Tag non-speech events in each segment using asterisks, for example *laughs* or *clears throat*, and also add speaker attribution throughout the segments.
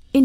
Speaker 1: verscheen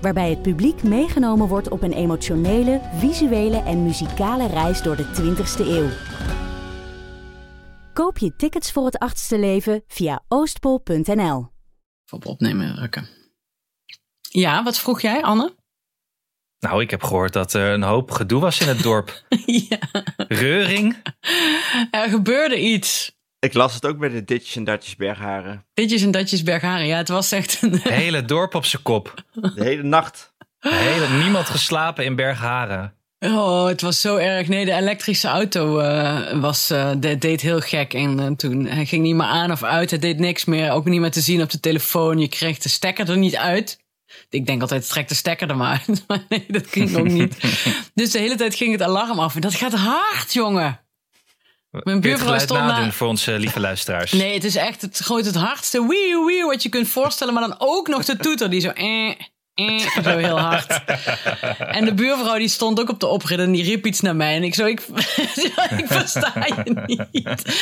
Speaker 1: Waarbij het publiek meegenomen wordt op een emotionele, visuele en muzikale reis door de 20ste eeuw. Koop je tickets voor het achtste leven via oostpol.nl.
Speaker 2: Op opnemen drukken. Ja, wat vroeg jij, Anne?
Speaker 3: Nou, ik heb gehoord dat er een hoop gedoe was in
Speaker 2: *laughs*
Speaker 3: het dorp.
Speaker 2: *laughs* ja,
Speaker 3: Reuring?
Speaker 2: er gebeurde iets.
Speaker 4: Ik las het ook bij de ditjes en datjes Bergharen.
Speaker 2: Ditjes en datjes Bergharen. Ja, het was echt een... *laughs*
Speaker 3: Het hele dorp op zijn kop.
Speaker 4: De
Speaker 3: *laughs*
Speaker 4: hele nacht.
Speaker 3: De hele, niemand geslapen in Bergharen.
Speaker 2: Oh, het was zo erg. Nee, de elektrische auto eh, was, eh, de- deed heel gek. En eh, toen hij ging niet meer aan of uit. Het deed niks meer. Ook niet meer te zien op de telefoon. Je kreeg de stekker er niet uit. Ik denk altijd, trek de stekker er maar uit. *laughs* Maar nee, dat ging ook niet. *laughs* Dus de hele tijd ging het alarm af. En dat gaat hard, jongen.
Speaker 3: Kun je het
Speaker 2: buurvrouw
Speaker 3: geluid
Speaker 2: stond na-
Speaker 3: nadoen voor onze lieve luisteraars?
Speaker 2: Nee, het is echt het, gooit het hardste wieuw, wieuw wat je kunt voorstellen. Maar dan ook nog de toeter die zo... Eh, eh, zo heel hard. En de buurvrouw die stond ook op de oprit en die riep iets naar mij. En ik zo, ik, *laughs* ik versta je niet.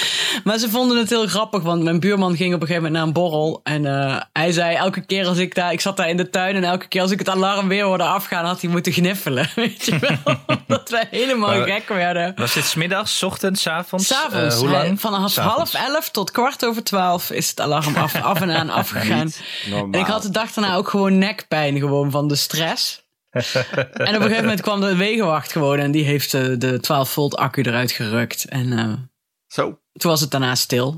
Speaker 2: Maar ze vonden het heel grappig, want mijn buurman ging op een gegeven moment naar een borrel. En eh, hij zei elke keer als ik daar... Ik zat daar in de tuin en elke keer als ik het alarm weer hoorde afgaan... had hij moeten gniffelen, *laughs* weet je wel. Omdat wij helemaal
Speaker 3: Maar-
Speaker 2: gek werden.
Speaker 3: Was dit smiddags, ochtends, avonds?
Speaker 2: S'avonds.
Speaker 3: Eh, hoe lang?
Speaker 2: Van
Speaker 3: S'avonds.
Speaker 2: half elf tot kwart over twaalf is het alarm af,
Speaker 3: *laughs*
Speaker 2: af en aan afgegaan.
Speaker 4: Normaal.
Speaker 2: En ik had de dag daarna ook gewoon nekpijn gewoon van de
Speaker 3: *laughs*
Speaker 2: stress. en op een gegeven moment kwam de wegenwacht gewoon en die heeft eh, de 12 volt accu eruit gerukt. En eh,
Speaker 4: Zo.
Speaker 2: toen was het daarna stil.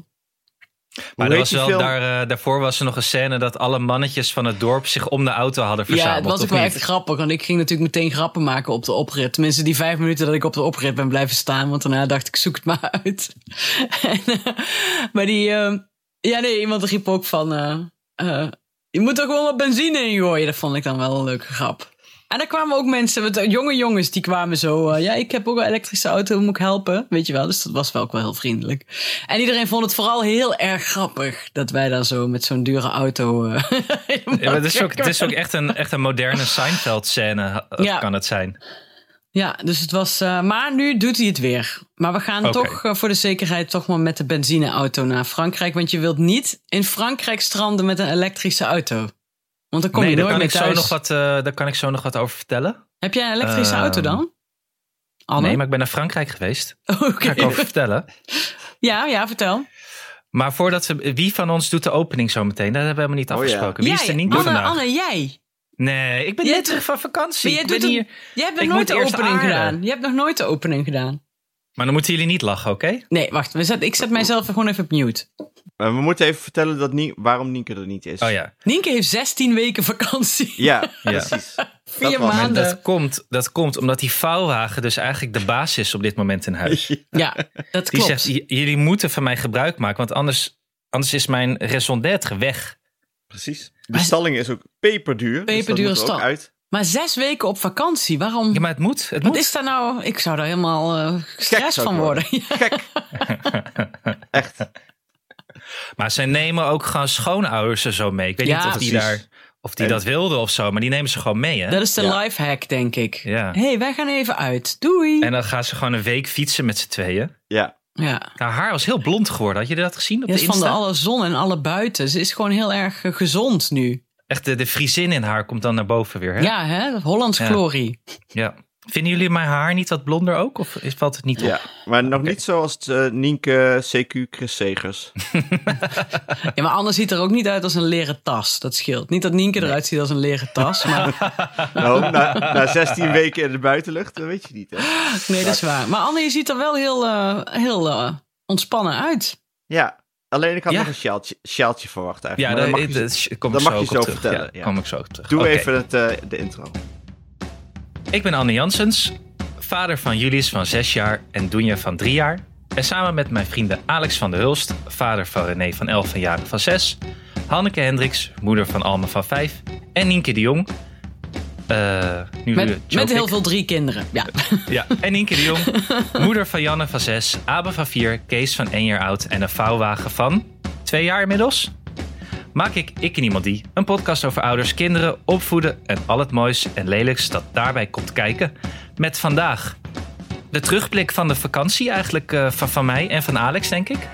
Speaker 3: Maar
Speaker 4: Hoe
Speaker 3: er
Speaker 4: heet
Speaker 3: was
Speaker 4: die
Speaker 3: wel,
Speaker 4: film?
Speaker 3: daar, eh, daarvoor was er nog een scène dat alle mannetjes van het dorp zich om de auto hadden
Speaker 2: ja,
Speaker 3: verzameld.
Speaker 2: het was ook
Speaker 3: of
Speaker 2: wel
Speaker 3: niet?
Speaker 2: echt grappig, want ik ging natuurlijk meteen grappen maken op de oprit. Tenminste, die vijf minuten dat ik op de oprit ben blijven staan, want daarna dacht ik, zoek het maar uit. *laughs* en, eh, maar die, eh, ja nee, iemand riep ook van, eh, eh, je moet er gewoon wat benzine in gooien. Dat vond ik dan wel een leuke grap. En daar kwamen ook mensen, met, jonge jongens, die kwamen zo. eh, ja, ik heb ook een elektrische auto, moet ik helpen? Weet je wel, dus dat was wel ook wel heel vriendelijk. En iedereen vond het vooral heel erg grappig dat wij daar zo met zo'n dure auto. eh, *laughs*
Speaker 3: Ja, maar het is ook,
Speaker 2: helemaal
Speaker 3: het is ook echt, een, echt een
Speaker 2: *laughs*
Speaker 3: moderne Seinfeld-scène, eh,
Speaker 2: Ja.
Speaker 3: kan het zijn.
Speaker 2: Ja, dus het was. eh, maar nu doet hij het weer. Maar we gaan
Speaker 3: Oké.
Speaker 2: toch eh, voor de zekerheid toch maar met de benzineauto naar Frankrijk. Want je wilt niet in Frankrijk stranden met een elektrische auto. Want dan kom
Speaker 3: nee,
Speaker 2: je
Speaker 3: daar
Speaker 2: nooit
Speaker 3: kan,
Speaker 2: meer
Speaker 3: ik zo
Speaker 2: thuis.
Speaker 3: nog wat, eh, daar kan ik zo nog wat over vertellen.
Speaker 2: Heb jij een elektrische
Speaker 3: Ehm,
Speaker 2: auto dan? Anne?
Speaker 3: Nee, maar ik ben naar Frankrijk geweest.
Speaker 2: *laughs* Oké. *laughs*
Speaker 3: Daar kan ik over vertellen.
Speaker 2: Ja, ja, vertel.
Speaker 3: Maar voordat we, wie van ons doet de opening zo meteen? Dat hebben we helemaal
Speaker 4: Oh,
Speaker 3: niet
Speaker 4: ja.
Speaker 3: afgesproken. Wie is er
Speaker 2: Jij,
Speaker 3: niet
Speaker 2: Anne,
Speaker 3: vandaag?
Speaker 2: Anne, jij.
Speaker 3: Nee, ik ben
Speaker 2: Jij
Speaker 3: net
Speaker 2: doet-
Speaker 3: terug van vakantie.
Speaker 2: Maar jij,
Speaker 3: Ik
Speaker 2: doet
Speaker 3: ben
Speaker 2: een-
Speaker 3: hier.
Speaker 2: jij hebt nog
Speaker 3: Ik
Speaker 2: nooit
Speaker 3: moet
Speaker 2: de
Speaker 3: eerst
Speaker 2: opening
Speaker 3: aarden.
Speaker 2: gedaan. Je hebt nog nooit de opening gedaan.
Speaker 3: Maar dan moeten jullie niet lachen, oké?
Speaker 2: Nee, wacht. We zet, ik zet mijzelf gewoon even op mute.
Speaker 4: Maar Eh, we moeten even vertellen dat Nie- waarom Nienke er niet is.
Speaker 3: Oh ja.
Speaker 2: Nienke heeft 16 weken vakantie.
Speaker 3: *laughs*
Speaker 4: Ja, precies.
Speaker 2: Vier
Speaker 4: was-
Speaker 3: En
Speaker 2: maanden.
Speaker 3: dat komt, dat komt omdat die vouwwagen dus eigenlijk de baas is op dit moment in
Speaker 4: *laughs*
Speaker 3: huis.
Speaker 2: Ja, dat
Speaker 3: Die
Speaker 2: klopt.
Speaker 3: zegt, "J- jullie moeten van mij gebruik maken, want anders, anders is mijn raison d'être weg.
Speaker 4: Precies. De stalling is ook peperduur. dus dat
Speaker 2: Peperdure
Speaker 4: moet er ook
Speaker 2: stal.
Speaker 4: uit.
Speaker 2: Maar zes weken op vakantie, waarom?
Speaker 3: Ja, maar het moet. Het
Speaker 2: Wat
Speaker 3: moet.
Speaker 2: is daar nou? Ik zou daar helemaal eh stress
Speaker 4: zou ik
Speaker 2: van worden. *laughs*
Speaker 4: Gek. Echt.
Speaker 3: Maar zij nemen ook gewoon schoonouders er zo mee. Ik weet
Speaker 2: Ja,
Speaker 3: niet of die,
Speaker 4: precies.
Speaker 3: daar, of die
Speaker 4: En-
Speaker 3: dat wilden of zo, maar die nemen ze gewoon mee. Hè?
Speaker 2: Dat is de
Speaker 4: Ja.
Speaker 2: life hack, denk ik.
Speaker 3: Ja.
Speaker 2: hey, wij gaan even uit. Doei.
Speaker 3: En dan gaan ze gewoon een week fietsen met z'n tweeën.
Speaker 4: Ja.
Speaker 2: ja.
Speaker 3: Haar Nou, haar was heel blond geworden. Had je dat gezien op
Speaker 2: Ja,
Speaker 3: de
Speaker 2: is van de
Speaker 3: Insta?
Speaker 2: alle zon en alle buiten. Ze is gewoon heel erg eh, gezond nu.
Speaker 3: Echt de, de Friesin in haar komt dan naar boven weer. Hè?
Speaker 2: Ja, hè? Hollands
Speaker 3: Ja.
Speaker 2: glorie.
Speaker 3: Ja. Vinden jullie mijn haar niet wat blonder ook? Of is- valt het niet op?
Speaker 4: ja. Maar nog niet zoals eh, Nienke CQ
Speaker 3: *laughs*
Speaker 4: Chris Segers.
Speaker 2: Ja, maar Anne ziet er ook niet uit als een leren tas. Dat scheelt. Niet dat Nienke eruit ziet als een leren tas. Maar *laughs*
Speaker 4: Nou, na, na 16 weken in de buitenlucht, dat weet je niet. Hè?
Speaker 2: nee, dat is waar. Maar Anne, je ziet er wel heel, eh, heel eh, ontspannen uit.
Speaker 4: Ja. Alleen ik had
Speaker 3: Ja.
Speaker 4: nog een sjaaltje, sjaaltje verwacht
Speaker 3: Ja,
Speaker 4: eigenlijk.
Speaker 3: dat,
Speaker 4: Maar
Speaker 3: dat,
Speaker 4: mag je-
Speaker 3: dat- kom
Speaker 4: dat
Speaker 3: ik zo
Speaker 4: mag je
Speaker 3: ook op
Speaker 4: zo
Speaker 3: terug.
Speaker 4: vertellen,
Speaker 3: Ja,
Speaker 4: ja.
Speaker 3: kom ik zo ook terug.
Speaker 4: Doe
Speaker 3: Oké.
Speaker 4: even het, eh, de intro.
Speaker 3: Ik ben Anne Janssens, vader van Julius van 6 jaar en Doenja van 3 jaar. En samen met mijn vrienden Alex van der Hulst, vader van René van 11 en Jaren van 6, Hanneke Hendricks, moeder van Alma van 5 en Nienke de Jong, Eh, nu eh,
Speaker 2: Met,
Speaker 3: joke
Speaker 2: met heel
Speaker 3: ik.
Speaker 2: veel drie kinderen. Ja.
Speaker 3: Ja, en Inke
Speaker 2: *laughs*
Speaker 3: de Jong. Moeder van Janne van 6, Abe van 4, Kees van 1 jaar oud en een vouwwagen van 2 jaar inmiddels. Maak ik Ik en Iemand Die, een podcast over ouders, kinderen, opvoeden en al het moois en lelijks dat daarbij komt kijken. Met vandaag de terugblik van de vakantie eigenlijk eh, van, van mij en van Alex, denk ik.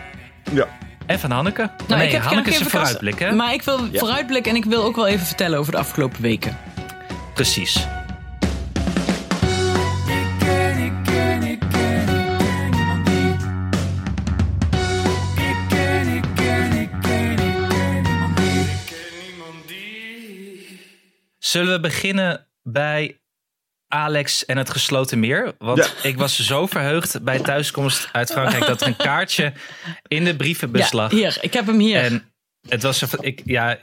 Speaker 4: Ja.
Speaker 3: En van Hanneke.
Speaker 2: Nou,
Speaker 3: nee,
Speaker 2: ik heb ik heb
Speaker 3: Hanneke is
Speaker 2: geen
Speaker 3: een
Speaker 2: vakantie,
Speaker 3: vooruitblik, hè?
Speaker 2: Maar ik wil vooruitblikken en ik wil ook wel even vertellen over de afgelopen weken.
Speaker 3: Precies. Zullen we beginnen bij Alex en het gesloten meer? Want
Speaker 4: Ja.
Speaker 3: ik was zo verheugd bij thuiskomst uit Frankrijk dat er een kaartje in de brievenbus lag.
Speaker 2: Ja, hier, ik heb hem hier.
Speaker 3: En het was een, ik, ja,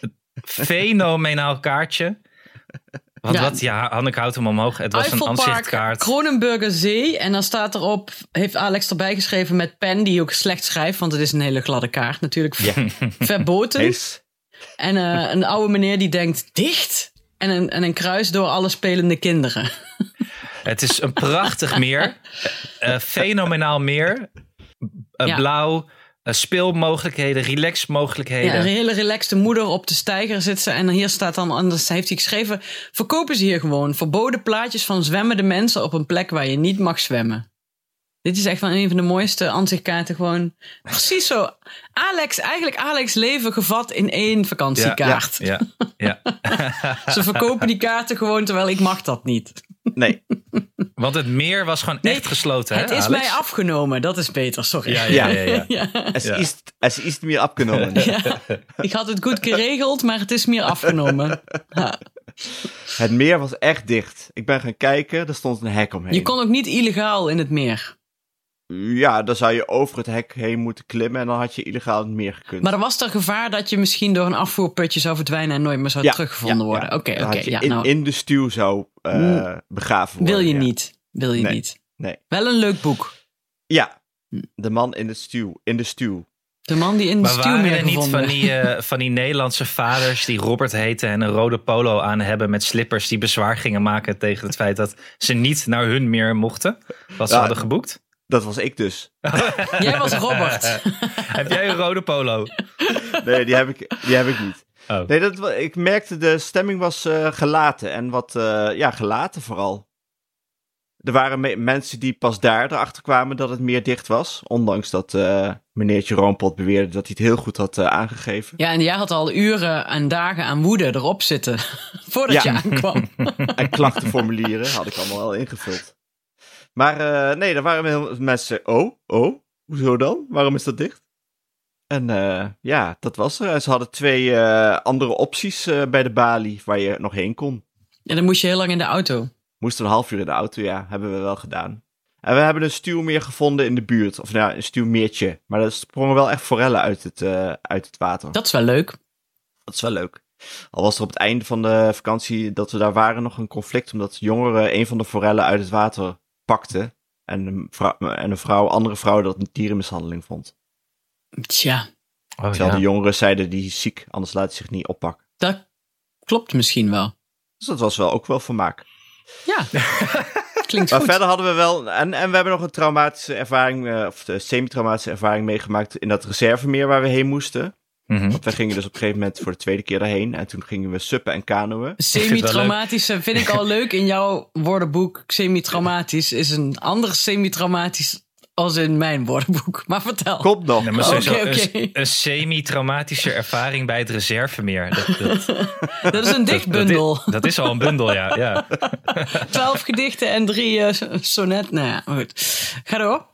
Speaker 3: een fenomenaal kaartje. Want
Speaker 2: Ja.
Speaker 3: wat, ja, Hanneke houdt hem omhoog. Het was een
Speaker 2: Eiffelpark,
Speaker 3: ansichtkaart.
Speaker 2: Kronenburger Zee. En dan staat erop, heeft Alex erbij geschreven met pen, die ook slecht schrijft, want het is een hele gladde kaart natuurlijk. *laughs* Verboten.
Speaker 4: Eens.
Speaker 2: En eh, een oude meneer die denkt, dicht? En een, en een kruis door alle spelende kinderen.
Speaker 3: Het is een prachtig meer. Eh, fenomenaal meer. Eh,
Speaker 2: Ja.
Speaker 3: Blauw. eh, speelmogelijkheden,
Speaker 2: Ja, een
Speaker 3: relaxmogelijkheden.
Speaker 2: hele relaxte moeder op de steiger zit ze. En hier staat dan, anders heeft hij geschreven, verkopen ze hier gewoon verboden plaatjes van zwemmende mensen op een plek waar je niet mag zwemmen. Dit is echt wel een van de mooiste ansichtkaarten. Gewoon precies zo. Alex, eigenlijk Alex leven gevat in één vakantiekaart.
Speaker 3: ja, ja.
Speaker 2: Ze verkopen die kaarten gewoon, terwijl ik mag dat niet.
Speaker 4: Nee.
Speaker 3: Want het meer was gewoon echt gesloten.
Speaker 2: Het
Speaker 3: hè,
Speaker 2: is
Speaker 3: Alex?
Speaker 2: mij afgenomen, dat is beter, sorry.
Speaker 3: Ja, ja, ja. ja.
Speaker 2: Ja.
Speaker 4: Es
Speaker 3: Ja.
Speaker 4: ist, es ist mir abgenommen.
Speaker 2: *laughs* Ja. Ik had het goed geregeld, maar het is meer afgenomen. Ja.
Speaker 4: Het meer was echt dicht. Ik ben gaan kijken, er stond een hek omheen.
Speaker 2: Je kon ook niet illegaal in het meer.
Speaker 4: Ja, dan zou je over het hek heen moeten klimmen en dan had je illegaal het meer gekund.
Speaker 2: Maar er was er gevaar dat je misschien door een afvoerputje zou verdwijnen en nooit meer zou
Speaker 4: Ja,
Speaker 2: teruggevonden
Speaker 4: ja, ja.
Speaker 2: worden. Oké,
Speaker 4: Dan
Speaker 2: oké.
Speaker 4: had je
Speaker 2: ja,
Speaker 4: in,
Speaker 2: nou,
Speaker 4: in de stuw zou eh,
Speaker 2: Mm.
Speaker 4: begraven worden.
Speaker 2: wil je
Speaker 4: ja.
Speaker 2: niet. Wil je
Speaker 4: Nee.
Speaker 2: niet.
Speaker 4: Nee.
Speaker 2: Wel een leuk boek.
Speaker 4: Ja,
Speaker 2: Hm.
Speaker 4: de man in de stuw. In de stuw.
Speaker 2: De man die in de
Speaker 3: Maar
Speaker 2: stuw
Speaker 3: waren
Speaker 2: meer
Speaker 3: er niet
Speaker 2: gevonden.
Speaker 3: van die, eh, van die Nederlandse vaders die Robert heten en een rode polo aan hebben met slippers die bezwaar gingen maken tegen het feit dat ze niet naar hun meer mochten? Wat ze
Speaker 4: Ja.
Speaker 3: hadden geboekt?
Speaker 4: Dat was ik dus.
Speaker 2: Jij was
Speaker 3: *laughs*
Speaker 2: Robert.
Speaker 3: Heb jij een rode polo?
Speaker 4: Nee, die heb ik, die heb ik niet.
Speaker 3: Oh.
Speaker 4: Nee, dat, wa- ik merkte de stemming was eh, gelaten. En wat, eh, ja, gelaten vooral. Er waren me- mensen die pas daar erachter kwamen dat het meer dicht was. Ondanks dat eh meneertje Roompot beweerde dat hij het heel goed had eh, aangegeven.
Speaker 2: *laughs* Ja, en jij had al uren en dagen aan woede erop zitten. *laughs* Voordat
Speaker 4: Ja.
Speaker 2: je aankwam.
Speaker 4: En klachtenformulieren had ik allemaal al ingevuld. Maar eh, nee, er waren heel veel mensen. Oh, oh, hoezo dan? Waarom is dat dicht? En eh, ja, dat was er. En ze hadden twee eh, andere opties eh, bij de balie waar je nog heen kon.
Speaker 2: En dan moest je heel lang in de auto.
Speaker 4: Moesten een half uur in de auto, ja, hebben we wel gedaan. En we hebben een stuwmeer gevonden in de buurt. Of nou, ja, een stuwmeertje. Maar er sprongen wel echt forellen uit het, eh, uit het water.
Speaker 2: Dat is wel leuk.
Speaker 4: Dat is wel leuk. Al was er op het einde van de vakantie dat we daar waren nog een conflict. Omdat jongeren een van de forellen uit het water pakten. En een vrouw, en een vrouw, andere vrouw dat een dierenmishandeling vond.
Speaker 2: Tja,
Speaker 3: Oh,
Speaker 4: Terwijl
Speaker 3: ja.
Speaker 4: de jongeren zeiden die is ziek, anders laat hij zich niet oppakken.
Speaker 2: dat klopt misschien wel.
Speaker 4: Dus dat was wel ook wel vermaak. *laughs*
Speaker 2: Ja, klinkt
Speaker 4: Maar
Speaker 2: goed.
Speaker 4: verder hadden we wel. En, en we hebben nog een traumatische ervaring, eh, of de semi-traumatische ervaring meegemaakt in dat reservemeer waar we heen moesten.
Speaker 3: Mhm.
Speaker 4: Want we gingen dus op een gegeven moment voor de tweede keer daarheen. En toen gingen we suppen en kanoën.
Speaker 2: Semi-traumatische vind ik al leuk in jouw woordenboek. Semi-traumatisch is een ander semi-traumatisch als in mijn woordenboek. Maar vertel.
Speaker 4: Komt nog.
Speaker 3: Ja, maar
Speaker 2: Oké,
Speaker 3: sowieso
Speaker 2: oké.
Speaker 3: Een, een semi-traumatische ervaring bij het reservemeer. Dat, dat, dat-
Speaker 2: dat is een dichtbundel.
Speaker 3: Dat, is, dat is al een bundel, ja. ja.
Speaker 2: Twaalf gedichten en drie eh, so- sonnet. Nou ja, goed. Ga door.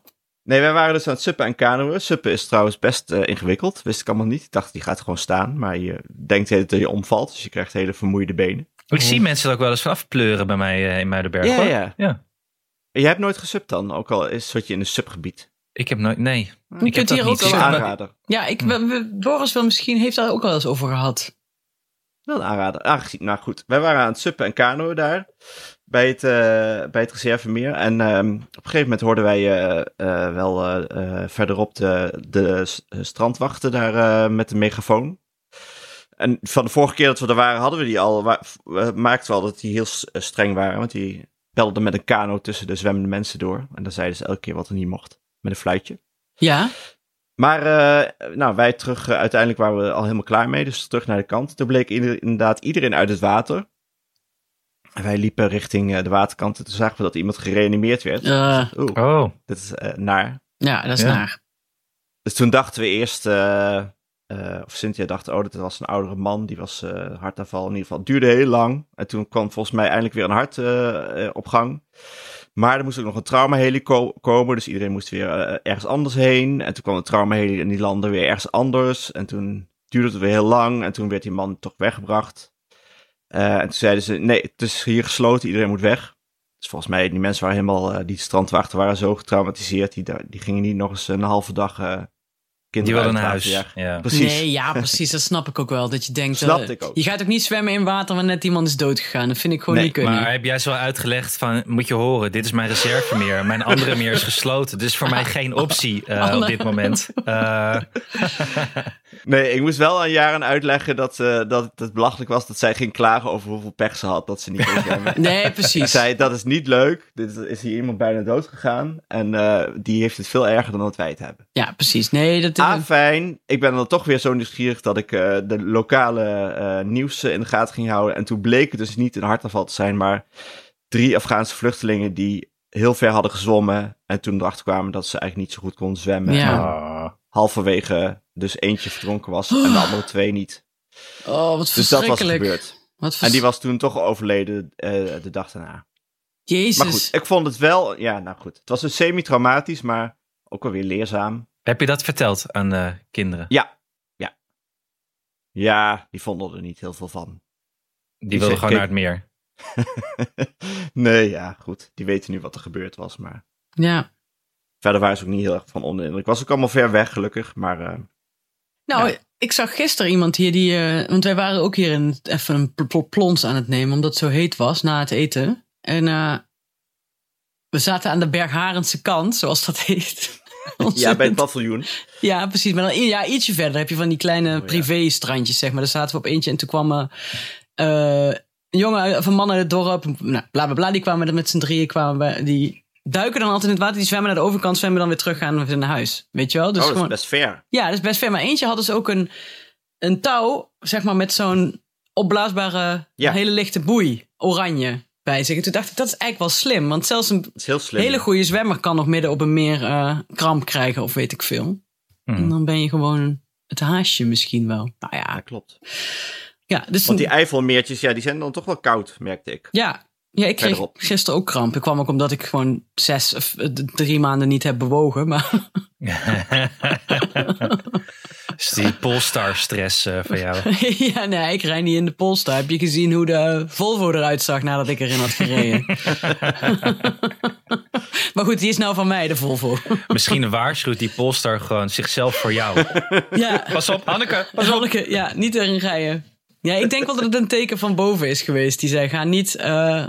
Speaker 4: Nee, wij waren dus aan het suppen en kanoën. Suppen is trouwens best eh, ingewikkeld. Wist ik allemaal niet. Ik dacht, die gaat gewoon staan. Maar je denkt de hele tijd dat je omvalt. Dus je krijgt hele vermoeide benen.
Speaker 3: Ik zie mensen er ook wel eens vanaf pleuren bij mij eh, in Muidenberg.
Speaker 4: Ja,
Speaker 3: hoor.
Speaker 4: ja.
Speaker 3: ja.
Speaker 4: Je hebt nooit gesupt dan, ook al is zat je in een subgebied.
Speaker 3: Ik heb nooit, nee.
Speaker 2: Je
Speaker 3: heb
Speaker 2: kunt
Speaker 3: dat
Speaker 2: hier
Speaker 3: niet.
Speaker 2: ook
Speaker 3: Ik
Speaker 4: Een
Speaker 2: wel.
Speaker 3: heb dat-
Speaker 4: aanrader.
Speaker 2: Ja, ik, we- we- Boris wel misschien heeft daar ook wel eens over gehad.
Speaker 4: Wel een aanrader. Aangezien, nou goed. Wij waren aan het suppen en kanoën daar. Bij het, eh bij het reservemeer. En ehm, op een gegeven moment hoorden wij eh, eh, wel eh, eh, verderop de, de s- strandwachten daar eh, met de megafoon. En van de vorige keer dat we er waren, hadden we die al. wa- we maakten wel dat die heel s- eh, streng waren. Want die pelden met een kano tussen de zwemmende mensen door. En dan zeiden ze elke keer wat er niet mocht. Met een fluitje.
Speaker 2: Ja,
Speaker 4: Maar eh, nou, wij terug, eh, uiteindelijk waren we al helemaal klaar mee, dus terug naar de kant. Toen bleek ieder- inderdaad iedereen uit het water. En wij liepen richting eh, de waterkant en toen zagen we dat iemand gereanimeerd werd.
Speaker 2: Eh,
Speaker 4: Oeh,
Speaker 3: Oh,
Speaker 4: dit is eh, naar.
Speaker 2: ja dat is
Speaker 3: Ja.
Speaker 2: naar.
Speaker 4: Dus toen dachten we eerst, eh, eh, of Cynthia dacht, oh, dat was een oudere man, die was eh hartaanval. In ieder geval, het duurde heel lang. En toen kwam volgens mij eindelijk weer een hart eh, eh, op gang. Maar er moest ook nog een traumaheli ko- komen, dus iedereen moest weer eh, ergens anders heen. En toen kwam de traumaheli en die landde weer ergens anders. En toen duurde het weer heel lang en toen werd die man toch weggebracht. Eh, en toen zeiden ze, nee, het is hier gesloten, iedereen moet weg. Dus volgens mij, die mensen waren helemaal, eh, die strandwachten waren zo getraumatiseerd. Die, da- die gingen niet nog eens een halve dag eh
Speaker 3: die
Speaker 4: kinderen
Speaker 3: wilde
Speaker 4: uit
Speaker 3: naar
Speaker 4: het
Speaker 3: huis.
Speaker 4: water jagen.
Speaker 3: Ja.
Speaker 4: Precies.
Speaker 2: Nee, ja, precies. Dat snap ik ook wel. Dat je denkt.
Speaker 4: Snap
Speaker 2: eh,
Speaker 4: ik ook.
Speaker 2: Je gaat ook niet zwemmen in water waar net iemand is doodgegaan. Dat vind ik gewoon
Speaker 4: Nee,
Speaker 2: niet kunnen.
Speaker 3: Maar heb jij zo uitgelegd van, moet je horen, dit is mijn reservemeer. Mijn andere meer is gesloten. Dus voor mij geen optie eh, op
Speaker 2: *laughs*
Speaker 3: dit moment. Eh,
Speaker 4: Nee, ik moest wel aan Jaren uitleggen dat, eh, dat het belachelijk was dat zij ging klagen over hoeveel pech ze had.
Speaker 2: *laughs*
Speaker 4: Dat ze niet kon zwemmen.
Speaker 2: Nee,
Speaker 4: Ik *laughs*
Speaker 2: precies.
Speaker 4: zei, dat is niet leuk. Dit is hier iemand bijna dood gegaan. En eh, die heeft het veel erger dan dat wij het hebben.
Speaker 2: Ja, precies. Nee, dat is.
Speaker 4: Ah, fijn. Ik ben dan toch weer zo nieuwsgierig dat ik eh, de lokale eh, nieuws eh, in de gaten ging houden. En toen bleek het dus niet een hartaanval te zijn, maar drie Afghaanse vluchtelingen die heel ver hadden gezwommen. En toen erachter kwamen dat ze eigenlijk niet zo goed konden zwemmen.
Speaker 2: Ja.
Speaker 4: En
Speaker 3: ah.
Speaker 4: halverwege dus eentje verdronken was en de andere twee niet.
Speaker 2: Oh, wat
Speaker 4: Dus dat
Speaker 2: verschrikkelijk.
Speaker 4: was er gebeurd.
Speaker 2: Wat vers-
Speaker 4: En die was toen toch overleden eh, de dag daarna.
Speaker 2: Jezus.
Speaker 4: Maar goed, ik vond het wel. Ja, nou goed. Het was dus semi-traumatisch, maar ook wel weer leerzaam.
Speaker 3: Heb je dat verteld aan eh, kinderen?
Speaker 4: Ja, ja. Ja, die vonden er niet heel veel van.
Speaker 3: Die
Speaker 4: *laughs*
Speaker 3: wilden
Speaker 4: zeg,
Speaker 3: gewoon
Speaker 4: kijk-
Speaker 3: naar het meer.
Speaker 4: nee, ja, goed. Die weten nu wat er gebeurd was, maar
Speaker 2: Ja.
Speaker 4: verder waren ze ook niet heel erg van onder de indruk. Was ook allemaal ver weg, gelukkig, maar eh,
Speaker 2: Nou,
Speaker 4: Ja.
Speaker 2: ik zag gisteren iemand hier die. eh, want wij waren ook hier in, even een pl- pl- plons aan het nemen, omdat het zo heet was na het eten. En eh, we zaten aan de Bergharendse kant, zoals dat *laughs* heet.
Speaker 4: ja, bij het
Speaker 2: Ontzettend
Speaker 4: paviljoen. Oh,
Speaker 2: Ja, precies. Maar dan i- ja, ietsje verder heb je van die kleine
Speaker 4: ja.
Speaker 2: privé-strandjes, zeg maar. Daar zaten we op eentje en toen kwam eh, eh, een jongen uit- of een man uit het dorp. Nou, bla bla bla. Die kwamen er met z'n drieën. Kwamen bij, die duiken dan altijd in het water. Die zwemmen naar de overkant, zwemmen dan weer terug gaan weer naar huis. Weet je wel? Dus
Speaker 4: oh, dat
Speaker 2: gewoon,
Speaker 4: is best ver.
Speaker 2: Ja, dat is best ver. Maar eentje had dus ook een, een touw, zeg maar, met zo'n opblaasbare,
Speaker 4: Ja.
Speaker 2: hele lichte boei, oranje, bij zich. En toen dacht ik, dat is eigenlijk wel slim. Want zelfs een
Speaker 4: Dat is heel slim.
Speaker 2: hele goede zwemmer kan nog midden op een meer eh, kramp krijgen of weet ik veel.
Speaker 4: Hmm.
Speaker 3: Hm.
Speaker 2: En dan ben je gewoon het haasje misschien wel. Nou
Speaker 4: Ja,
Speaker 2: ja,
Speaker 4: klopt.
Speaker 2: ja dus
Speaker 4: Want die Eifelmeertjes, ja, die zijn dan toch wel koud, merkte ik.
Speaker 2: ja, ja, ik kreeg
Speaker 4: Verderop.
Speaker 2: gisteren ook kramp. Ik kwam ook omdat ik gewoon zes of eh, d- drie maanden niet heb bewogen. Maar *laughs*
Speaker 3: Dus die Polestar stress eh, van jou.
Speaker 2: *laughs* ja, nee, ik rij niet in de Polestar. Heb je gezien hoe de Volvo eruit zag nadat ik erin had
Speaker 4: *laughs*
Speaker 2: gereden? *laughs* maar goed, die is nou van mij, de
Speaker 4: *laughs*
Speaker 2: Volvo.
Speaker 3: Misschien waarschuwt die Polestar gewoon zichzelf voor jou.
Speaker 2: ja,
Speaker 3: Pas op, Hanneke.
Speaker 2: Hanneke, ja, niet erin rijden. Ja, ik denk wel dat het een teken van boven is geweest. Die zei, ga niet, eh,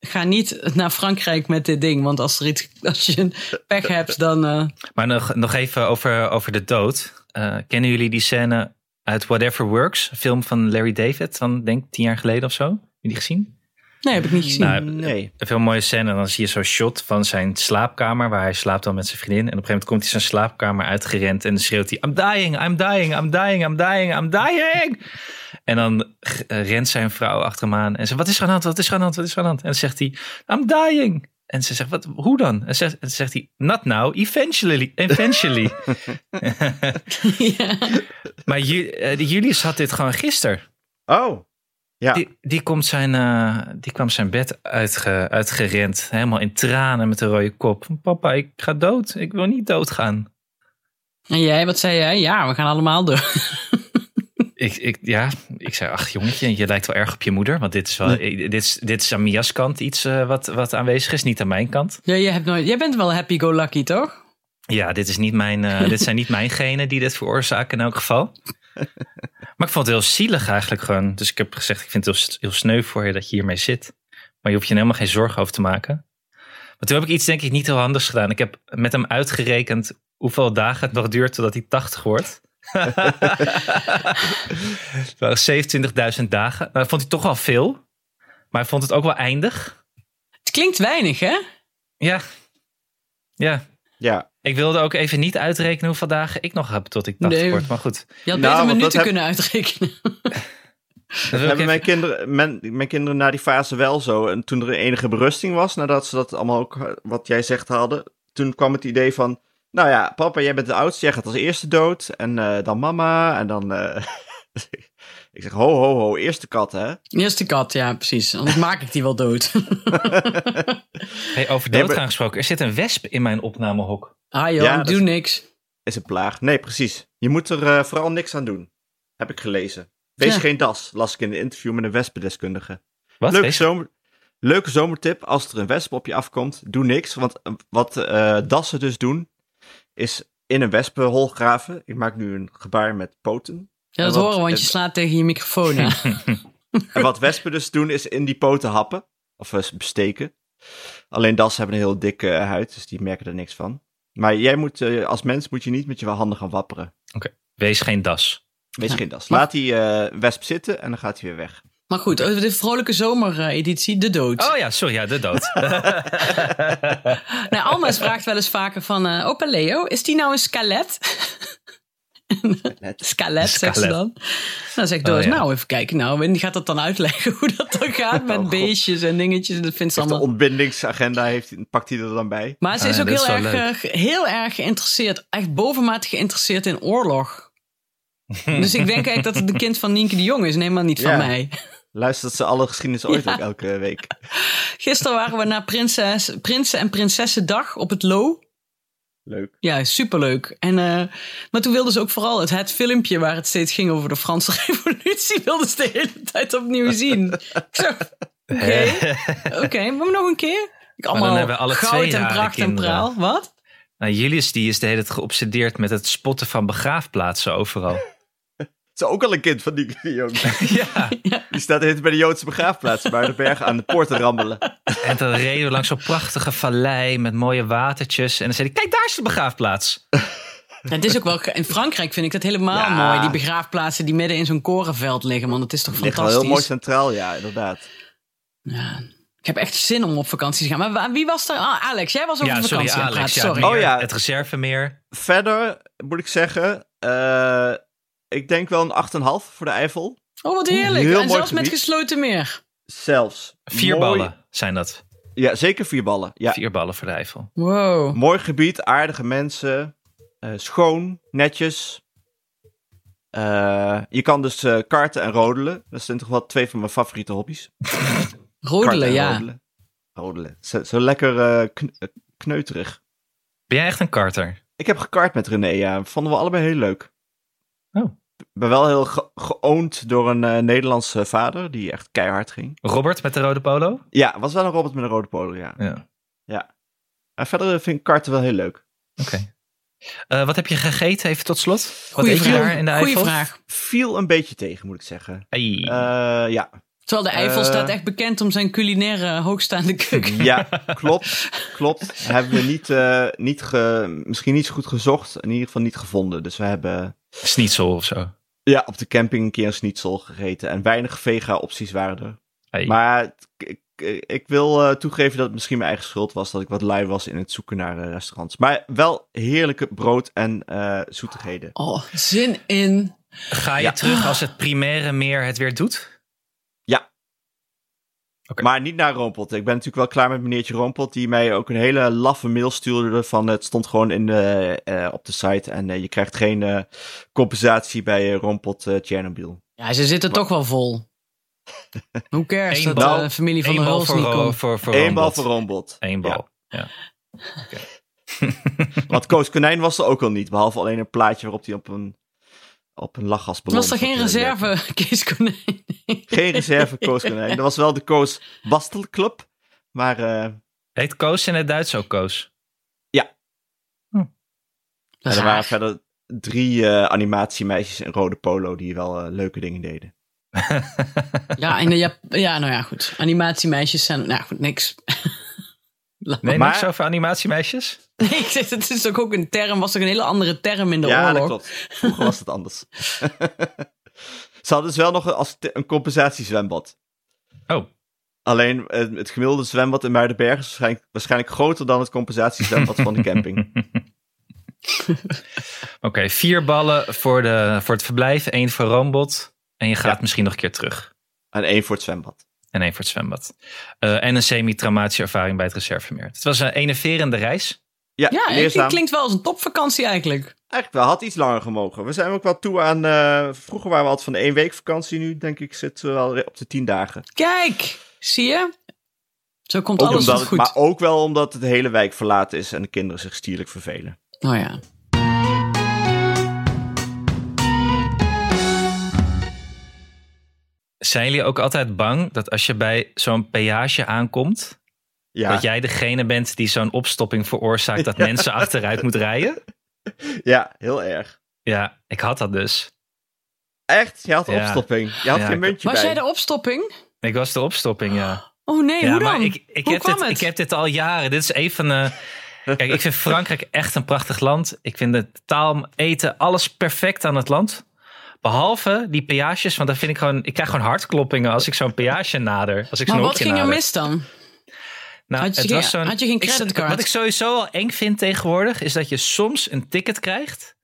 Speaker 2: ga niet naar Frankrijk met dit ding. Want als, er iets, als je een pech hebt, dan... eh,
Speaker 3: Maar nog, nog even over, over de dood. Eh, kennen jullie die scène uit Whatever Works? Een film van Larry David van, denk ik, tien jaar geleden of zo. Heb je die gezien?
Speaker 2: nee, heb ik niet gezien.
Speaker 3: Nou,
Speaker 4: Nee.
Speaker 3: Een veel mooie scène. En dan zie je zo'n shot van zijn slaapkamer. Waar hij slaapt dan met zijn vriendin. En op een gegeven moment komt hij zijn slaapkamer uitgerend. En dan schreeuwt hij: I'm dying, I'm dying, I'm dying, I'm dying, I'm dying. En dan eh, rent zijn vrouw achter hem aan. En ze: Wat is er aan de hand? Wat is er aan de hand? Wat is er aan de hand? En dan zegt hij: I'm dying. En ze zegt: Wat, Hoe dan? En zegt, en zegt hij: Not now, eventually. eventually. *laughs*
Speaker 2: ja.
Speaker 3: maar Ju- eh, die Julius had dit gewoon gisteren.
Speaker 4: Oh, ja.
Speaker 3: Die, die, komt zijn, eh, die kwam zijn bed uitge, uitgerend. Helemaal in tranen met een rode kop. Van, Papa, ik ga dood. Ik wil niet doodgaan.
Speaker 2: En jij, wat zei jij? Ja, we gaan allemaal door.
Speaker 3: Ik, ik, ja, ik zei, ach jongetje, je lijkt wel erg op je moeder. Want dit is, wel, eh, dit is, dit is aan Mia's kant iets eh, wat, wat aanwezig is. Niet aan mijn kant.
Speaker 2: Ja, jij, hebt nooit, jij bent wel happy-go-lucky, toch?
Speaker 3: Ja, dit, is niet mijn, eh, dit zijn niet mijn genen die dit veroorzaken in elk geval. Maar ik vond het heel zielig eigenlijk gewoon. Dus ik heb gezegd, ik vind het heel, s- heel sneu voor je dat je hiermee zit. Maar je hoeft je er helemaal geen zorgen over te maken. Maar toen heb ik iets denk ik niet heel handigs gedaan. Ik heb met hem uitgerekend hoeveel dagen het nog duurt totdat hij 80 wordt. Het waren 27.000 dagen. Nou, dat vond hij toch wel veel. Maar hij vond het ook wel eindig.
Speaker 2: Het klinkt weinig, hè?
Speaker 3: Ja. Ja.
Speaker 4: Ja,
Speaker 3: Ik wilde ook even niet uitrekenen hoeveel dagen ik nog heb tot ik 80
Speaker 2: Nee.
Speaker 3: word. Maar goed.
Speaker 2: Je had beter
Speaker 4: Nou, want dat
Speaker 2: minuten
Speaker 4: heb-
Speaker 2: kunnen uitrekenen.
Speaker 3: Dat wil ik
Speaker 4: hebben
Speaker 3: even-
Speaker 4: mijn kinderen, mijn, mijn kinderen na die fase wel zo. En toen er enige berusting was, nadat ze dat allemaal ook, eh, wat jij zegt, hadden. Toen kwam het idee van, nou ja, papa, jij bent de oudste, jij gaat als eerste dood. En eh, dan mama, en dan... eh, *laughs* ik zeg, ho, ho, ho, eerste kat, hè?
Speaker 2: Eerste kat, ja, precies. Anders maak ik die wel dood. *laughs*
Speaker 3: Hey, over
Speaker 4: Nee,
Speaker 3: doodgaan
Speaker 4: maar-
Speaker 3: gesproken. Er zit een wesp in mijn opnamehok.
Speaker 2: Ah joh,
Speaker 4: Ja,
Speaker 2: ik
Speaker 4: dat-
Speaker 2: doe niks.
Speaker 4: Is een plaag. Nee, precies. Je moet er eh, vooral niks aan doen. Heb ik gelezen. Wees
Speaker 2: Ja.
Speaker 4: geen das, las ik in een interview met een wespendeskundige.
Speaker 3: Wat?
Speaker 4: Leuke,
Speaker 3: Wees-
Speaker 4: zomer, leuke zomertip. Als er een wesp op je afkomt, doe niks. Want eh, wat eh, dassen dus doen, is in een wespenhol graven. Ik maak nu een gebaar met poten.
Speaker 2: Ja, dat
Speaker 4: Want-
Speaker 2: horen, want je
Speaker 4: het-
Speaker 2: slaat tegen je microfoon
Speaker 4: *laughs*
Speaker 2: aan.
Speaker 4: En wat wespen dus doen, is in die poten happen. Of eh, steken. Alleen dassen hebben een heel dikke eh, huid, dus die merken er niks van. Maar jij moet, eh, als mens moet je niet met je handen gaan wapperen.
Speaker 3: Wees geen das.
Speaker 4: Wees
Speaker 2: Ja.
Speaker 4: geen das.
Speaker 2: Maar-
Speaker 4: Laat die eh, wesp zitten en dan gaat hij weer weg.
Speaker 2: Maar goed, over de vrolijke zomereditie, de dood.
Speaker 3: Oh ja, sorry, ja, de dood.
Speaker 2: Nou, Alma vraagt wel eens vaker van... eh Opa Leo, is die nou een skelet?
Speaker 4: Net.
Speaker 2: skelet, zegt ze
Speaker 3: Skelet.
Speaker 2: dan. Nou, zegt Doris,
Speaker 3: Oh, ja.
Speaker 2: nou even kijken. Nou, en die gaat dat dan uitleggen *laughs* hoe dat dan gaat met
Speaker 3: Oh,
Speaker 4: God.
Speaker 2: beestjes en dingetjes. Dat vindt ze
Speaker 4: Heeft de
Speaker 2: allemaal...
Speaker 4: ontbindingsagenda heeft, hij- pakt hij er dan bij.
Speaker 2: Maar ze
Speaker 3: Ah,
Speaker 2: is
Speaker 3: ja,
Speaker 2: ook
Speaker 3: dat
Speaker 2: heel,
Speaker 3: is wel
Speaker 2: erg, eh, heel erg geïnteresseerd, echt bovenmatig geïnteresseerd in
Speaker 3: *laughs*
Speaker 2: oorlog. dus ik denk eigenlijk dat het een kind van Nienke de Jong is, neem maar niet van
Speaker 4: Ja.
Speaker 2: mij.
Speaker 4: Luistert ze alle geschiedenis ooit
Speaker 2: Ja.
Speaker 4: ook elke week.
Speaker 2: Gisteren waren we naar prinses, Prinsen en Prinsessendag op het Lo.
Speaker 4: Leuk.
Speaker 2: Ja, superleuk. En, eh, maar toen wilden ze ook vooral het, het filmpje waar het steeds ging over de Franse *laughs* revolutie, wilden ze de hele tijd opnieuw zien. Ik
Speaker 3: *laughs*
Speaker 2: zo, oké, oké, maar nog een keer? Ik
Speaker 3: dan
Speaker 2: allemaal
Speaker 3: hebben we alle
Speaker 2: goud
Speaker 3: twee
Speaker 2: en
Speaker 3: rare
Speaker 2: pracht en
Speaker 3: kinderen.
Speaker 2: praal. Wat?
Speaker 3: nou, Julius die is de hele tijd geobsedeerd met het spotten van begraafplaatsen overal.
Speaker 4: Het is ook al een kind van die, die jongen.
Speaker 3: ja.
Speaker 4: Die staat de hele tijd bij de Joodse begraafplaats, bij de bergen aan de poort te rammelen.
Speaker 3: En dan reden we langs zo'n prachtige vallei met mooie watertjes. En dan zei hij, kijk, daar is de begraafplaats.
Speaker 2: Ja, het is ook wel, ge- in Frankrijk vind ik dat helemaal
Speaker 4: Ja.
Speaker 2: mooi, die begraafplaatsen die midden in zo'n korenveld liggen, man. Dat is toch
Speaker 4: Ligt wel
Speaker 2: fantastisch.
Speaker 4: heel mooi centraal, ja, inderdaad.
Speaker 2: Ja. Ik heb echt zin om op vakantie te gaan. Maar wa- wie was er? Ah, Alex, jij was over
Speaker 3: ja, sorry
Speaker 2: vakantie aan het
Speaker 3: Alex.
Speaker 2: praten.
Speaker 3: Ja,
Speaker 2: sorry.
Speaker 3: meer,
Speaker 4: Oh ja.
Speaker 3: Het reservemeer.
Speaker 4: Verder moet ik zeggen, eh, ik denk wel een 8,5 voor de Eifel.
Speaker 2: Oh, wat heerlijk.
Speaker 4: Heel
Speaker 2: en
Speaker 4: mooi
Speaker 2: zelfs met
Speaker 4: gebied.
Speaker 2: gesloten meer.
Speaker 4: Zelfs.
Speaker 3: Vier
Speaker 4: Mooi-
Speaker 3: ballen zijn dat.
Speaker 4: Ja, zeker vier ballen. Ja.
Speaker 3: Vier ballen voor de Eifel.
Speaker 2: Wow.
Speaker 4: Mooi gebied, aardige mensen. eh, schoon, netjes. Eh, je kan dus eh, karten en rodelen. Dat zijn toch wel twee van mijn favoriete hobby's. Karten
Speaker 2: Rodelen,
Speaker 4: en
Speaker 2: ja.
Speaker 4: Rodelen. rodelen. Zo, zo lekker eh, kn- eh, kneuterig.
Speaker 3: Ben jij echt een karter?
Speaker 4: Ik heb gekart met René, ja. Vonden we allebei heel leuk.
Speaker 3: Oh.
Speaker 4: Ik ben wel heel ge- geoond door een eh, Nederlandse vader die echt keihard ging.
Speaker 3: Robert met de rode polo?
Speaker 4: Ja, was wel een robot met een rode polo, ja.
Speaker 3: Ja.
Speaker 4: En verder vind ik karten wel heel leuk.
Speaker 3: Oké. Eh, wat heb je gegeten, even tot slot? Wat
Speaker 2: Goeie
Speaker 3: eet je daar
Speaker 2: vraag.
Speaker 3: in de
Speaker 2: Goeie
Speaker 3: Eifel?
Speaker 2: vraag.
Speaker 4: Viel een beetje tegen, moet ik zeggen.
Speaker 3: Ei.
Speaker 4: Eh, ja.
Speaker 2: Terwijl de Eifel
Speaker 4: Eh.
Speaker 2: staat echt bekend om zijn culinaire hoogstaande
Speaker 4: *laughs*
Speaker 2: keuken.
Speaker 4: ja, klopt. Klopt. Hebben we niet, eh, niet ge- misschien niet zo goed gezocht. In ieder geval niet gevonden. Dus we hebben
Speaker 3: Schnitzel of zo.
Speaker 4: ja, op de camping een keer een schnitzel gegeten. En weinig vega-opties waren er.
Speaker 3: Ei.
Speaker 4: Maar het- ik, ik, ik wil eh, toegeven dat het misschien mijn eigen schuld was dat ik wat lui was in het zoeken naar eh, restaurants. Maar wel heerlijke brood en eh, zoetigheden.
Speaker 2: Oh, zin in.
Speaker 3: Ga je
Speaker 4: Ja.
Speaker 3: terug als het primaire meer het weer doet? Oké.
Speaker 4: Maar niet naar Roompot. Ik ben natuurlijk wel klaar met meneertje Roompot, die mij ook een hele laffe mail stuurde van eh, het stond gewoon in de, eh, op de site en eh, je krijgt geen eh, compensatie bij eh, Roompot eh, Tsjernobyl.
Speaker 2: Ja, ze zitten toch wel
Speaker 4: *laughs*
Speaker 2: vol. Hoe cares
Speaker 3: Eén
Speaker 2: dat
Speaker 4: bal.
Speaker 2: de familie van
Speaker 3: Eén
Speaker 2: de
Speaker 3: bal
Speaker 2: Huls
Speaker 3: voor,
Speaker 2: niet
Speaker 3: Ro-
Speaker 2: komt?
Speaker 3: voor, voor
Speaker 4: Eén bal
Speaker 3: Rambot.
Speaker 4: voor Roompot.
Speaker 3: Eén bal.
Speaker 4: Ja, want Koos Konijn was er ook al niet, behalve alleen een plaatje waarop hij op een, op een lachgasballon
Speaker 2: Was er geen
Speaker 4: zat te werken.
Speaker 2: reserve, *laughs* Kees Konijn?
Speaker 4: Geen reserve Koos Konijn. Dat was wel de Koos Bastelclub. Maar eh,
Speaker 3: Heet Koos in het Duits ook Koos?
Speaker 2: Dat is *laughs*
Speaker 4: er waren
Speaker 2: raar.
Speaker 4: verder drie eh, animatiemeisjes in rode polo die wel eh, leuke dingen deden.
Speaker 2: Ja, en de Jap- ja, nou ja, goed. Animatiemeisjes zijn... Nou goed, niks.
Speaker 3: Nee,
Speaker 4: Maar-
Speaker 3: niks over animatiemeisjes?
Speaker 2: *laughs* Nee, ik zeg, het is toch ook een term, was toch een hele andere term in de
Speaker 4: ja, dat
Speaker 2: oorlog?
Speaker 4: klopt. Vroeger was dat anders. *laughs* Ze hadden dus wel nog een- als te- een compensatiezwembad.
Speaker 3: Oh,
Speaker 4: Alleen eh, het gemiddelde zwembad in Muidenberg is waarschijnlijk, waarschijnlijk groter dan het compensatiezwembad van de
Speaker 2: *laughs*
Speaker 4: camping.
Speaker 3: oké. Vier ballen voor, de, voor het verblijf, één voor Roombot. En je gaat misschien nog een keer terug.
Speaker 4: En één voor het zwembad.
Speaker 3: En één voor het zwembad. Eh, en een semi-traumatische ervaring bij het reservemeer. Het was een enerverende reis.
Speaker 4: Ja,
Speaker 2: Ja, het
Speaker 4: leerzaam.
Speaker 2: klinkt wel als een topvakantie eigenlijk.
Speaker 4: Eigenlijk wel, had iets langer gemogen. We zijn ook wel toe aan... eh, vroeger waren we altijd van de één week vakantie. Nu denk ik zitten we wel op de tien dagen.
Speaker 2: Kijk, zie je? Zo komt
Speaker 4: Ook
Speaker 2: alles
Speaker 4: omdat
Speaker 2: tot goed.
Speaker 4: het- maar ook wel omdat het hele wijk verlaten is en de kinderen zich stierlijk vervelen.
Speaker 2: Nou ja.
Speaker 3: Zijn jullie ook altijd bang dat als je bij zo'n peage aankomt,
Speaker 4: Ja,
Speaker 3: dat jij degene bent die zo'n opstopping veroorzaakt dat mensen achteruit moet rijden?
Speaker 4: ja heel erg.
Speaker 3: Ja, ik had dat dus.
Speaker 4: Echt? Je had
Speaker 3: Ja.
Speaker 4: opstopping. Je had
Speaker 3: Ja,
Speaker 4: geen
Speaker 3: ik-
Speaker 4: muntje
Speaker 2: Was
Speaker 4: bij.
Speaker 2: jij de opstopping?
Speaker 3: Ik was de opstopping, ja.
Speaker 2: Oh nee,
Speaker 3: ja,
Speaker 2: hoe dan?
Speaker 3: maar ik, ik,
Speaker 2: Hoe
Speaker 3: heb
Speaker 2: kwam
Speaker 3: dit,
Speaker 2: het?
Speaker 3: ik heb dit al jaren. Dit is een van de. Kijk, ik vind Frankrijk echt een prachtig land. Ik vind de taal, eten, alles perfect aan het land. Behalve die peages, want dan vind ik gewoon. Ik krijg gewoon hartkloppingen als ik zo'n peage nader. Als ik zo'n
Speaker 2: Maar wat
Speaker 3: hoekje
Speaker 2: ging er
Speaker 3: nader.
Speaker 2: mis dan?
Speaker 3: Nou,
Speaker 2: Had je
Speaker 3: het
Speaker 2: geen-
Speaker 3: was zo'n-
Speaker 2: had je geen
Speaker 3: ik-
Speaker 2: creditcard?
Speaker 3: wat ik sowieso al eng vind tegenwoordig, is dat je soms een ticket krijgt.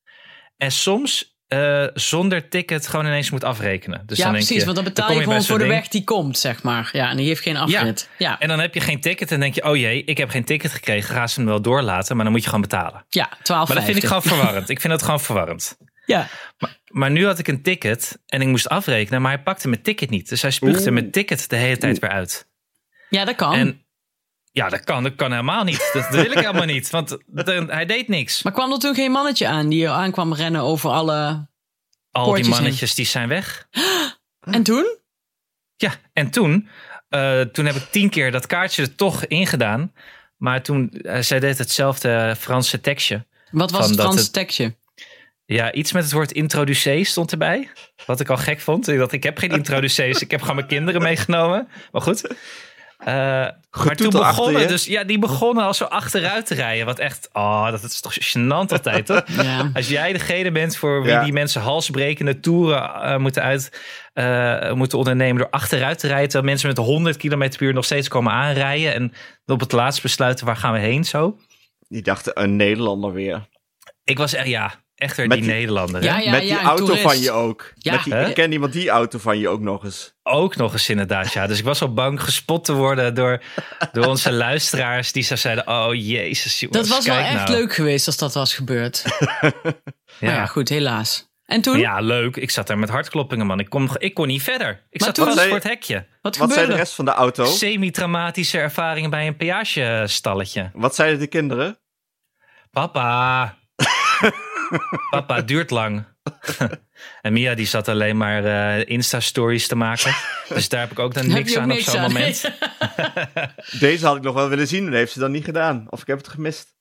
Speaker 3: En soms eh, zonder ticket gewoon ineens moet afrekenen. Dus
Speaker 2: ja,
Speaker 3: dan denk
Speaker 2: precies,
Speaker 3: je,
Speaker 2: want dan betaal je,
Speaker 3: kom bij
Speaker 2: gewoon
Speaker 3: zo'n
Speaker 2: voor de
Speaker 3: ding.
Speaker 2: weg die komt, zeg maar. Ja, en die heeft geen afrit. Ja, ja.
Speaker 3: En dan heb je geen ticket en denk je, oh jee, ik heb geen ticket gekregen. Ga ze hem wel doorlaten, maar dan moet je gewoon betalen.
Speaker 2: 12
Speaker 3: Maar dat vind ik gewoon verwarrend. Ik vind dat gewoon verwarrend.
Speaker 2: Ja.
Speaker 3: Maar nu had ik een ticket en ik moest afrekenen, maar hij pakte mijn ticket niet. Dus hij spuugde
Speaker 4: Oeh.
Speaker 3: mijn ticket de hele tijd weer uit.
Speaker 2: ja, dat kan.
Speaker 3: En ja, dat kan, dat kan helemaal niet. Dat, dat wil ik helemaal niet, want de- hij deed niks.
Speaker 2: Maar kwam er toen geen mannetje aan die aankwam rennen over alle...
Speaker 3: Al die
Speaker 2: poortjes in.
Speaker 3: mannetjes die zijn weg.
Speaker 2: En toen?
Speaker 3: Ja, en toen, eh, toen heb ik tien keer dat kaartje er toch ingedaan. Maar toen, eh, zij deed hetzelfde Franse tekstje.
Speaker 2: Wat was
Speaker 3: Van
Speaker 2: het
Speaker 3: dat
Speaker 2: Franse
Speaker 3: het-
Speaker 2: tekstje?
Speaker 3: Ja, iets met het woord introducee stond erbij. Wat ik al gek vond. Ik dacht, ik heb geen introducees. ik heb gewoon mijn kinderen meegenomen. Maar goed. Eh, maar toen
Speaker 4: Getoetel achter
Speaker 3: begonnen
Speaker 4: je.
Speaker 3: dus... Ja, die begonnen al zo achteruit te rijden. Wat echt... Oh, dat is toch gênant altijd, toch?
Speaker 2: Ja.
Speaker 3: Als jij degene bent voor wie
Speaker 4: Ja.
Speaker 3: die mensen halsbrekende toeren eh, moeten, uit, eh, moeten ondernemen door achteruit te rijden. Terwijl mensen met 100 km per uur nog steeds komen aanrijden. En op het laatst besluiten waar gaan we heen zo.
Speaker 4: Die dachten, een Nederlander weer.
Speaker 3: Ik was echt, ja, echt weer
Speaker 4: Met
Speaker 3: die,
Speaker 4: die-
Speaker 3: Nederlander. hè?
Speaker 2: Ja, ja,
Speaker 4: Met die
Speaker 2: ja, een
Speaker 4: auto
Speaker 2: toerist.
Speaker 4: van je ook.
Speaker 2: Ja.
Speaker 4: Met die,
Speaker 3: Hè?
Speaker 4: ik ken iemand die auto van je ook nog eens.
Speaker 3: Ook nog eens inderdaad, ja. Dus ik was al bang gespot te worden door, door
Speaker 2: *laughs*
Speaker 3: onze luisteraars die zo zeiden... Oh, jezus, jongens,
Speaker 2: Dat was wel
Speaker 3: kijk
Speaker 2: echt
Speaker 3: nou.
Speaker 2: leuk geweest als dat was gebeurd. Maar ja,
Speaker 3: Ja.
Speaker 2: goed, helaas. En toen?
Speaker 3: ja, leuk. Ik zat daar met hartkloppingen, man. Ik kon, ik kon niet verder. Ik
Speaker 2: Maar
Speaker 3: zat
Speaker 2: toen-
Speaker 3: vast
Speaker 4: Wat zei-
Speaker 3: voor het hekje.
Speaker 2: Wat
Speaker 4: Wat zei de
Speaker 2: gebeurde er?
Speaker 4: rest van de auto?
Speaker 3: Semi-traumatische ervaringen bij een peagestalletje.
Speaker 4: Wat zeiden de kinderen?
Speaker 3: Papa. Papa, het duurt lang. *laughs* en Mia die zat alleen maar eh, Insta-stories te maken. Dus daar heb ik ook dan
Speaker 2: Heb
Speaker 3: niks
Speaker 2: je ook
Speaker 3: aan op
Speaker 2: niks
Speaker 3: zo'n
Speaker 2: aan? *laughs*
Speaker 3: moment.
Speaker 4: Deze had ik nog wel willen zien, maar dat heeft ze dan niet gedaan. Of ik heb het gemist.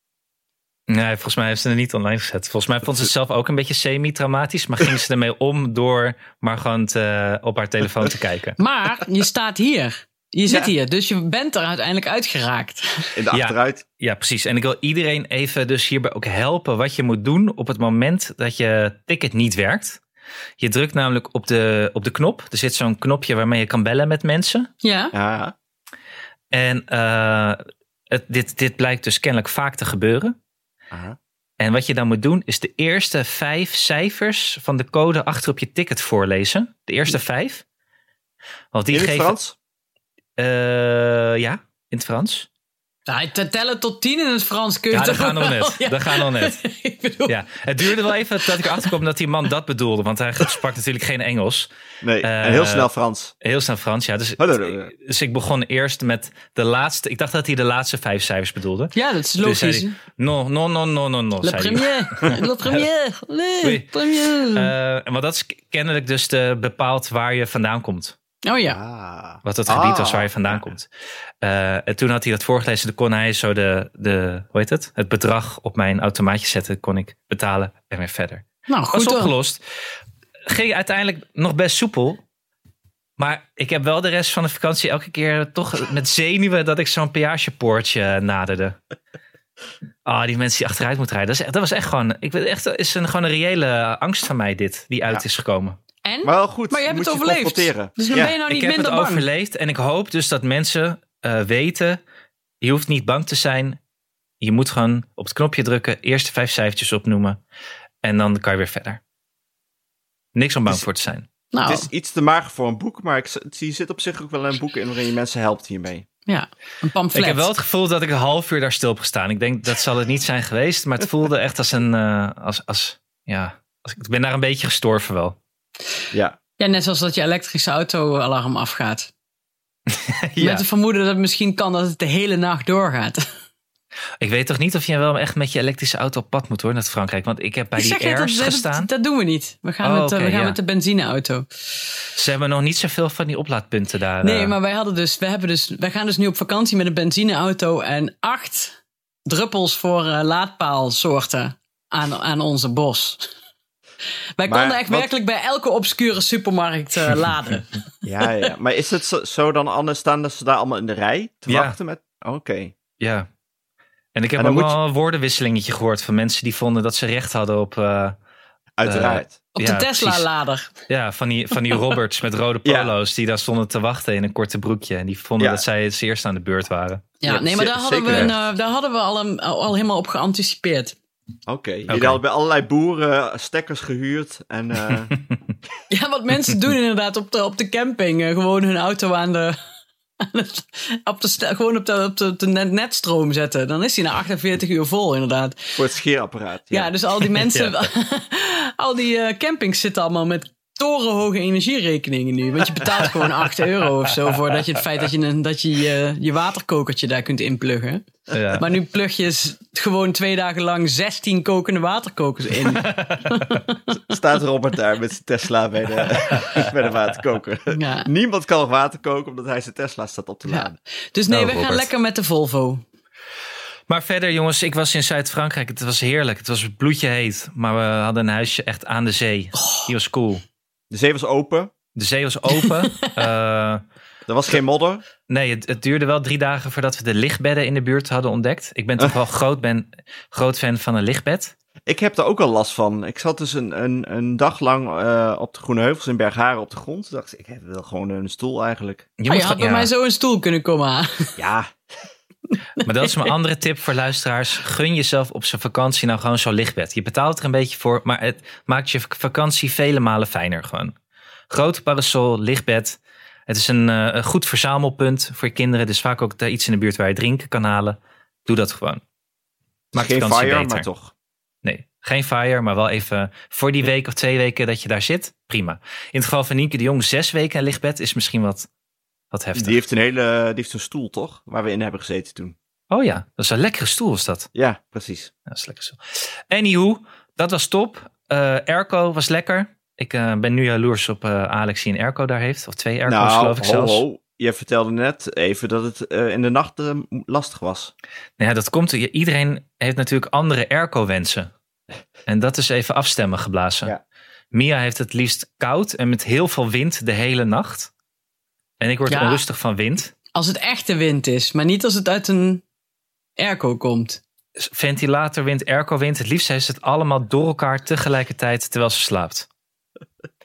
Speaker 3: Nee, volgens mij heeft ze het niet online gezet. Volgens mij vond ze het zelf ook een beetje semi-traumatisch. Maar ging ze ermee om door maar gewoon te- eh, op haar telefoon te kijken.
Speaker 2: Maar je staat hier. Je zit
Speaker 4: Ja.
Speaker 2: hier, dus je bent er uiteindelijk uitgeraakt.
Speaker 4: In de
Speaker 3: Ja.
Speaker 4: achteruit.
Speaker 3: Ja, precies. En ik wil iedereen even dus hierbij ook helpen wat je moet doen op het moment dat je ticket niet werkt. Je drukt namelijk op de, op de knop. Er zit zo'n knopje waarmee je kan bellen met mensen.
Speaker 2: Ja,
Speaker 4: Ja.
Speaker 3: En eh, het, dit, dit blijkt dus kennelijk vaak te gebeuren.
Speaker 4: Aha.
Speaker 3: En wat je dan moet doen is de eerste vijf cijfers van de code achter op je ticket voorlezen. De eerste vijf. Want die
Speaker 4: In het
Speaker 3: geven.
Speaker 4: Frans?
Speaker 3: Eh, ja, in het Frans.
Speaker 2: Nou, te tellen tot tien in het Frans kun je
Speaker 3: Ja, dat
Speaker 2: toch
Speaker 3: gaan we nog
Speaker 2: wel-
Speaker 3: net.
Speaker 2: *laughs* Ja.
Speaker 3: Dat gaan we nog net.
Speaker 2: Ik bedoel,
Speaker 3: Ja, het duurde wel even dat ik erachter kwam dat die man dat bedoelde. Want hij sprak natuurlijk geen Engels.
Speaker 4: Nee,
Speaker 3: Eh,
Speaker 4: en heel snel Frans.
Speaker 3: Heel snel Frans, ja. Dus,
Speaker 4: Hallo, hallo.
Speaker 3: dus ik begon eerst met de laatste. Ik dacht dat hij de laatste vijf cijfers bedoelde.
Speaker 2: ja, dat is
Speaker 3: Dus
Speaker 2: logisch.
Speaker 3: zei hij, no, no, no, no, no, no,
Speaker 2: Le
Speaker 3: zei hij.
Speaker 2: premier,
Speaker 3: *laughs*
Speaker 2: le premier, le
Speaker 3: Oui.
Speaker 2: premier.
Speaker 3: Eh, want dat is kennelijk dus de, bepaald waar je vandaan komt.
Speaker 2: oh ja,
Speaker 4: Ah.
Speaker 3: Wat het gebied
Speaker 4: Ah.
Speaker 3: was waar je vandaan komt. Eh, en toen had hij dat voorgelezen. Toen kon hij zo de, de, hoe heet het? Het bedrag op mijn automaatje zetten. Kon ik betalen en weer verder.
Speaker 2: nou goed
Speaker 3: was
Speaker 2: hoor.
Speaker 3: opgelost. Ging uiteindelijk nog best soepel. Maar ik heb wel de rest van de vakantie elke keer toch met zenuwen dat ik zo'n peagepoortje naderde. Ah, die mensen die achteruit moeten rijden. Dat, is echt- dat was echt gewoon. Ik weet echt, dat is een, gewoon een reële angst van mij, dit, die uit
Speaker 4: Ja.
Speaker 3: is gekomen.
Speaker 2: En?
Speaker 4: Maar wel goed.
Speaker 2: Maar je hebt
Speaker 4: moet
Speaker 2: het overleefd.
Speaker 4: confronteren.
Speaker 2: Dus dan
Speaker 4: Ja.
Speaker 2: ben je nou
Speaker 3: ik
Speaker 2: niet
Speaker 3: heb het
Speaker 2: minder bang.
Speaker 3: overleefd en ik hoop dus dat mensen eh, weten: je hoeft niet bang te zijn. Je moet gewoon op het knopje drukken, eerste vijf cijfertjes opnoemen en dan kan je weer verder. Niks om bang
Speaker 4: Dus-
Speaker 3: voor te zijn.
Speaker 2: Nou,
Speaker 4: Het is iets te mager voor een boek, maar ik z- zie zit op zich ook wel een boek in waarin je mensen helpt hiermee.
Speaker 2: ja, een pamflet.
Speaker 3: Ik heb wel het gevoel dat ik een half uur daar stil heb gestaan. Ik denk dat zal het niet zijn geweest, maar het voelde echt als een. eh, als, als, ja, als, ik ben daar een beetje gestorven
Speaker 2: *laughs*
Speaker 3: wel.
Speaker 4: Ja.
Speaker 2: Ja, net zoals dat je elektrische auto-alarm afgaat.
Speaker 3: ja.
Speaker 2: Met het vermoeden dat het misschien kan dat het de hele nacht doorgaat.
Speaker 3: Ik weet toch niet of je wel echt met je elektrische auto op pad moet hoor naar Frankrijk. Want ik heb
Speaker 2: *laughs*
Speaker 3: bij
Speaker 2: Ik zeg
Speaker 3: die
Speaker 2: net, dat,
Speaker 3: Airs
Speaker 2: dat,
Speaker 3: gestaan.
Speaker 2: dat, doen we niet. We gaan,
Speaker 3: Oh,
Speaker 2: met, eh,
Speaker 3: oké,
Speaker 2: we gaan
Speaker 3: ja.
Speaker 2: met de benzineauto.
Speaker 3: Ze hebben nog niet zoveel van die oplaadpunten daar.
Speaker 2: Nee,
Speaker 3: eh.
Speaker 2: maar wij hadden dus, wij hebben dus, wij gaan dus nu op vakantie met een benzineauto en acht druppels voor eh, laadpaalsoorten aan, aan onze bos. Wij
Speaker 4: Maar
Speaker 2: konden echt
Speaker 4: wat-
Speaker 2: werkelijk bij elke obscure supermarkt eh,
Speaker 4: *laughs*
Speaker 2: laden.
Speaker 4: Ja, ja. Maar is het zo, zo dan anders staan dat ze daar allemaal in de rij te
Speaker 3: Ja.
Speaker 4: wachten met... Oké.
Speaker 3: Ja. En ik heb
Speaker 4: En
Speaker 3: ook
Speaker 4: dan moet
Speaker 3: wel een woordenwisselingetje gehoord van mensen die vonden dat ze recht hadden op. eh,
Speaker 4: Uiteraard.
Speaker 2: Op
Speaker 3: Ja,
Speaker 2: de Tesla-lader.
Speaker 3: ja, van die,
Speaker 4: *laughs*
Speaker 3: van die Roberts met rode
Speaker 4: Ja.
Speaker 3: polo's die daar stonden te wachten in een korte broekje. En die vonden
Speaker 4: Ja.
Speaker 3: dat zij het eerst aan de beurt waren.
Speaker 2: Ja,
Speaker 4: Ja,
Speaker 2: nee, maar
Speaker 4: ze-
Speaker 2: daar hadden, we,
Speaker 4: zeker
Speaker 2: een,
Speaker 4: echt.
Speaker 2: eh, daar hadden we al, een- al helemaal op geanticipeerd. *laughs*
Speaker 4: Oké. Jullie
Speaker 3: Oké.
Speaker 4: hadden bij allerlei boeren eh, stekkers gehuurd
Speaker 3: *laughs*
Speaker 4: en... eh,
Speaker 2: Ja, wat mensen
Speaker 4: *laughs*
Speaker 2: doen inderdaad op de, op de camping. eh, gewoon hun auto aan de. *laughs* aan het- Op de, stel- gewoon op de, op de, op de net- netstroom zetten. Dan is hij na 48 uur vol, inderdaad.
Speaker 4: voor het scheerapparaat.
Speaker 2: Ja,
Speaker 4: Ja.
Speaker 2: dus al
Speaker 3: *laughs*
Speaker 2: die mensen. *laughs* al die eh, campings zitten allemaal met torenhoge energierekeningen nu. Want je betaalt
Speaker 3: *laughs*
Speaker 2: gewoon 8 euro of zo. voor dat je het feit dat je een- dat je, je, je waterkokertje daar kunt inpluggen.
Speaker 4: *laughs*
Speaker 3: Ja.
Speaker 2: Maar nu plug je s- gewoon twee dagen lang 16 kokende waterkokers
Speaker 3: *laughs*
Speaker 2: in.
Speaker 4: Staat Robert daar met zijn Tesla
Speaker 3: *laughs*
Speaker 4: bij de, bij de waterkoker.
Speaker 2: Ja.
Speaker 4: Niemand kan nog water koken omdat hij zijn Tesla staat op te
Speaker 2: Ja.
Speaker 4: laden.
Speaker 2: Dus nee,
Speaker 3: Oh,
Speaker 2: we gaan
Speaker 3: Robert.
Speaker 2: lekker met de Volvo. Oh,
Speaker 3: Maar verder, jongens, ik was in Zuid-Frankrijk. Het was heerlijk. Het was bloedje heet. Maar we hadden een huisje echt aan de zee.
Speaker 4: Oh.
Speaker 3: Die was cool.
Speaker 4: De zee was open.
Speaker 3: De zee was
Speaker 4: *laughs*
Speaker 3: open. Eh,
Speaker 4: Er was geen modder.
Speaker 3: nee, het, het duurde wel drie dagen voordat we de lichtbedden in de buurt hadden ontdekt. Ik
Speaker 4: *laughs*
Speaker 3: ben toch wel groot, ben, groot fan van een lichtbed.
Speaker 4: Ik heb daar ook al last van. Ik zat dus een, een, een dag lang eh, op de Groene Heuvels in Bergharen op de grond. Toen dacht ik, ik wil gewoon een stoel eigenlijk.
Speaker 3: Je
Speaker 2: Ah, je
Speaker 3: moet
Speaker 2: had
Speaker 3: gewoon-
Speaker 2: bij
Speaker 3: ja.
Speaker 2: mij zo een stoel kunnen komen aan. *laughs*
Speaker 4: Ja,
Speaker 3: Maar dat is mijn andere tip voor luisteraars. Gun jezelf op zijn vakantie nou gewoon zo'n lichtbed. Je betaalt er een beetje voor, maar het maakt je vakantie vele malen fijner gewoon. Grote parasol, lichtbed. Het is een, eh, een goed verzamelpunt voor je kinderen. Dus vaak ook daar iets in de buurt waar je drinken kan halen. Doe dat gewoon. Maakt
Speaker 4: geen
Speaker 3: de
Speaker 4: fire,
Speaker 3: vakantie beter.
Speaker 4: maar toch.
Speaker 3: Nee, geen fire, maar wel even voor die week of twee weken dat je daar zit. Prima. In het geval van Nienke de Jong, zes weken een lichtbed is misschien wat, wat heftig.
Speaker 4: Die heeft een hele, die heeft een stoel toch? Waar we in hebben gezeten toen.
Speaker 3: Oh ja, dat is een lekkere stoel was dat.
Speaker 4: Ja, precies.
Speaker 3: Ja, Dat is lekker zo. Anywho, dat was top. Eh Erco was lekker. Ik eh, ben nu jaloers op eh, Alex die een Erco daar heeft. Of twee Erco's
Speaker 4: nou,
Speaker 3: geloof ik
Speaker 4: ho,
Speaker 3: zelfs.
Speaker 4: ho. Je vertelde net even dat het eh, in de nacht eh, lastig was.
Speaker 3: Nou ja, dat komt. i- Iedereen heeft natuurlijk andere Erco-wensen. En dat is even afstemmen geblazen.
Speaker 4: Ja.
Speaker 3: Mia heeft het liefst koud en met heel veel wind de hele nacht. En ik word
Speaker 2: Ja.
Speaker 3: onrustig van wind.
Speaker 2: Als het echte wind is, maar niet als het uit een airco komt.
Speaker 3: Dus Ventilatorwind, airco-wind. Het liefst is het allemaal door elkaar tegelijkertijd terwijl ze slaapt.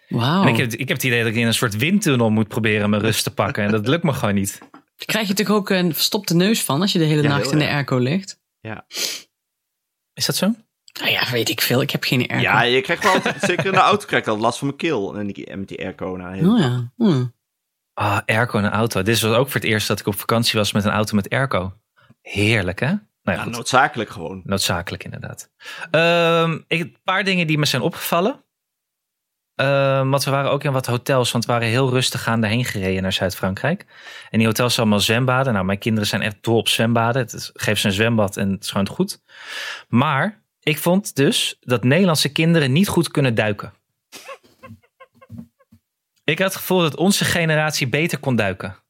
Speaker 2: Wauw.
Speaker 3: En ik heb, ik heb het idee dat ik in een soort windtunnel moet proberen mijn rust te pakken. En dat lukt me gewoon niet.
Speaker 2: Daar krijg je natuurlijk ook een verstopte neus van als je de hele
Speaker 4: Ja,
Speaker 2: nacht
Speaker 4: heel
Speaker 2: in de
Speaker 4: erg.
Speaker 2: airco ligt.
Speaker 3: Is dat zo?
Speaker 2: Nou ja, weet ik veel. Ik heb geen airco.
Speaker 4: Ja, je krijgt wel altijd- zeker in de auto krijg ik altijd last van mijn keel. En, die, en met die airco. Nou, heel-
Speaker 2: Oh ja. Hm.
Speaker 3: Ah, airco en een auto. Dit was ook voor het eerst dat ik op vakantie was met een auto met airco. Heerlijk, hè? Nou ja,
Speaker 4: ja,
Speaker 3: goed.
Speaker 4: noodzakelijk gewoon.
Speaker 3: noodzakelijk inderdaad. Ehm, ik, een paar dingen die me zijn opgevallen. Ehm, want we waren ook in wat hotels, want we waren heel rustig aan daarheen gereden naar Zuid-Frankrijk. En die hotels zijn allemaal zwembaden. Nou, mijn kinderen zijn echt dol op zwembaden. Het is- geef ze een zwembad en het is gewoon goed. Maar ik vond dus dat Nederlandse kinderen niet goed kunnen duiken. ik had het gevoel dat onze generatie beter kon duiken.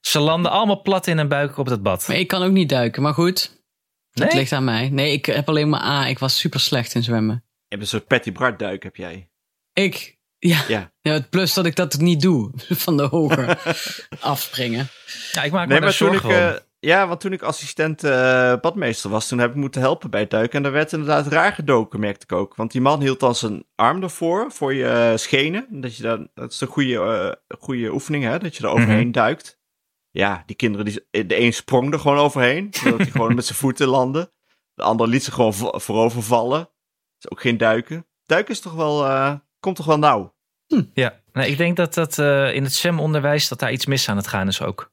Speaker 3: Ze landen allemaal plat in hun buik op dat bad.
Speaker 2: Maar ik kan ook niet duiken, maar goed. Dat
Speaker 3: Nee?
Speaker 2: ligt aan mij. Nee, ik heb alleen maar A. Ik was super slecht in zwemmen.
Speaker 4: Je hebt een soort Patty Bart duik heb jij.
Speaker 2: Ik? Ja.
Speaker 4: Ja.
Speaker 2: ja, het plus dat ik dat niet doe. *laughs* Van de
Speaker 3: *laughs*
Speaker 2: hoger afspringen.
Speaker 3: Ja, ik maak
Speaker 4: Nee,
Speaker 3: me daar
Speaker 4: maar toen ik,
Speaker 3: zorgen om.
Speaker 4: eh, ja, want toen ik assistent eh, badmeester was, toen heb ik moeten helpen bij het duiken. En daar werd inderdaad raar gedoken, merkte ik ook. Want die man hield dan zijn arm ervoor, voor je eh, schenen. Dat, je dan, dat is een goede, eh, goede oefening, hè? dat je er overheen
Speaker 3: Mhm.
Speaker 4: duikt. Ja, die kinderen, die, eh, de een sprong er gewoon overheen, zodat hij gewoon met zijn voeten landde. De ander liet ze gewoon vo- voorover vallen. Dat is ook geen duiken. Duiken is toch wel, eh, komt toch wel nauw?
Speaker 3: Ja, nee, ik denk dat dat eh, in het SEM-onderwijs dat daar iets mis aan het gaan is ook.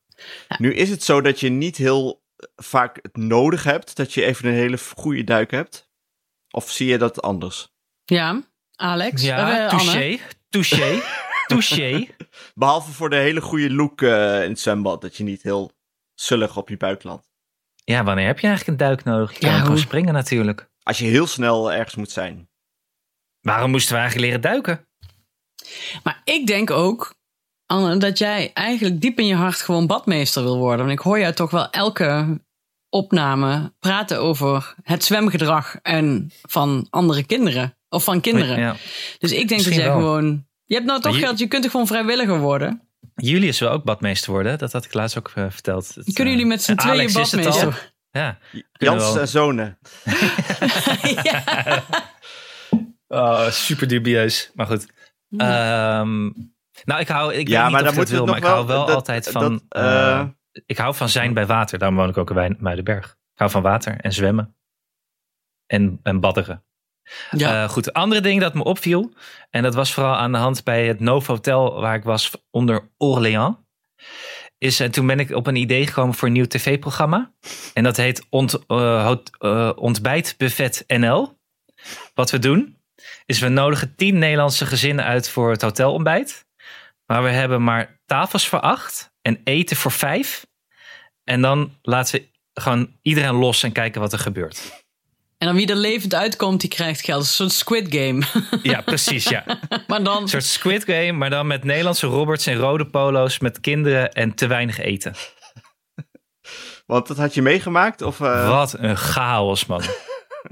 Speaker 4: Nu is het zo dat je niet heel eh, vaak het nodig hebt dat je even een hele goede duik hebt. Of zie je dat anders?
Speaker 2: Ja, Alex. Eh,
Speaker 3: Ja,
Speaker 2: eh, Anne.
Speaker 3: touché, touché, *laughs* touché.
Speaker 4: Behalve voor de hele goede look eh, in het zwembad, dat je niet heel zullig op je buik landt.
Speaker 3: Ja, wanneer heb je eigenlijk een duik nodig? Je kan
Speaker 2: Ja,
Speaker 3: gewoon
Speaker 2: hoe-
Speaker 3: springen natuurlijk.
Speaker 4: Als je heel snel ergens moet zijn.
Speaker 3: Waarom moesten we eigenlijk leren duiken?
Speaker 2: Maar ik denk ook, Anne, dat jij eigenlijk diep in je hart gewoon badmeester wil worden. Want ik hoor jou toch wel elke opname praten over het zwemgedrag en van andere kinderen. Of van kinderen.
Speaker 3: Ja.
Speaker 2: Dus ik denk dat
Speaker 3: Misschien
Speaker 2: jij
Speaker 3: wel.
Speaker 2: gewoon... Je hebt nou toch
Speaker 3: Maar je-
Speaker 2: geld, je kunt er gewoon vrijwilliger worden.
Speaker 3: Julius wil ook badmeester worden. Dat had ik laatst ook eh, verteld. Dat,
Speaker 2: Kunnen
Speaker 3: eh,
Speaker 2: jullie met z'n
Speaker 3: en
Speaker 2: tweeën
Speaker 3: Alex is het al. *laughs*
Speaker 2: badmeester?
Speaker 3: Ja. Kunnen we
Speaker 4: Jans
Speaker 3: wel.
Speaker 4: en zonen.
Speaker 2: ja.
Speaker 3: Oh, super dubieus. Maar goed. Ehm, nou, ik hou. Ik
Speaker 4: Ja,
Speaker 3: weet
Speaker 4: maar
Speaker 3: niet of
Speaker 4: daar
Speaker 3: ik het
Speaker 4: moeten
Speaker 3: wil,
Speaker 4: we
Speaker 3: maar
Speaker 4: nog
Speaker 3: ik
Speaker 4: wel...
Speaker 3: hou wel
Speaker 4: dat-
Speaker 3: altijd
Speaker 4: dat,
Speaker 3: van.
Speaker 4: eh,
Speaker 3: eh, ik hou van zijn bij water. Daarom woon ik ook in Wijn- Muidenberg. Ik hou van water en zwemmen. En, en badderen.
Speaker 2: ja.
Speaker 3: Eh, goed, andere ding dat me opviel. En dat was vooral aan de hand bij het Novotel waar ik was onder Orléans. Is, en toen ben ik op een idee gekomen voor een nieuw tv-programma. En dat heet ont, eh, hot- eh, Ontbijt Buffet NL. Wat we doen, is we nodigen tien Nederlandse gezinnen uit voor het hotelontbijt. Maar we hebben maar tafels voor acht en eten voor vijf. En dan laten we gewoon iedereen los en kijken wat er gebeurt.
Speaker 2: En dan wie er levend uitkomt, die krijgt geld. Het is Een soort Squid Game. *laughs*
Speaker 3: Ja, precies, ja.
Speaker 2: maar dan...
Speaker 3: Een soort Squid Game, maar dan met Nederlandse Roberts en rode polo's met kinderen en te weinig eten.
Speaker 4: Want dat had je meegemaakt? Of, eh,
Speaker 3: Wat een chaos, man.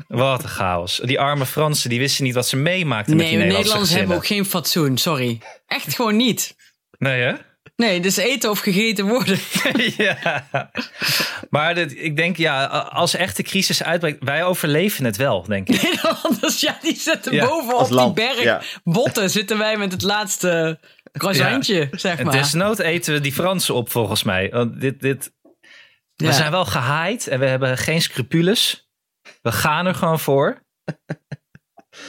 Speaker 3: Wat een chaos. Die arme Fransen, die wisten niet wat ze meemaakten met
Speaker 2: Nee,
Speaker 3: die
Speaker 2: we
Speaker 3: Nederlandse
Speaker 2: Nederlanders hebben ook
Speaker 3: gezinnen.
Speaker 2: geen fatsoen, sorry. Echt gewoon niet.
Speaker 3: Nee, hè?
Speaker 2: Nee, dus eten of gegeten worden. *laughs*
Speaker 3: *laughs* ja. Maar dit- ik denk, ja, als echt de crisis uitbreekt, wij overleven het wel, denk ik.
Speaker 2: Anders, ja, die zitten
Speaker 3: Ja,
Speaker 2: boven
Speaker 4: als
Speaker 2: op die
Speaker 4: land,
Speaker 2: berg.
Speaker 4: ja.
Speaker 2: Botten zitten wij met het laatste croissantje, zeg
Speaker 3: En
Speaker 2: maar.
Speaker 3: desnood eten we die Fransen op, volgens mij. Want dit, dit,
Speaker 2: Ja.
Speaker 3: We zijn wel gehaaid en we hebben geen scrupules. We gaan er gewoon voor. *laughs*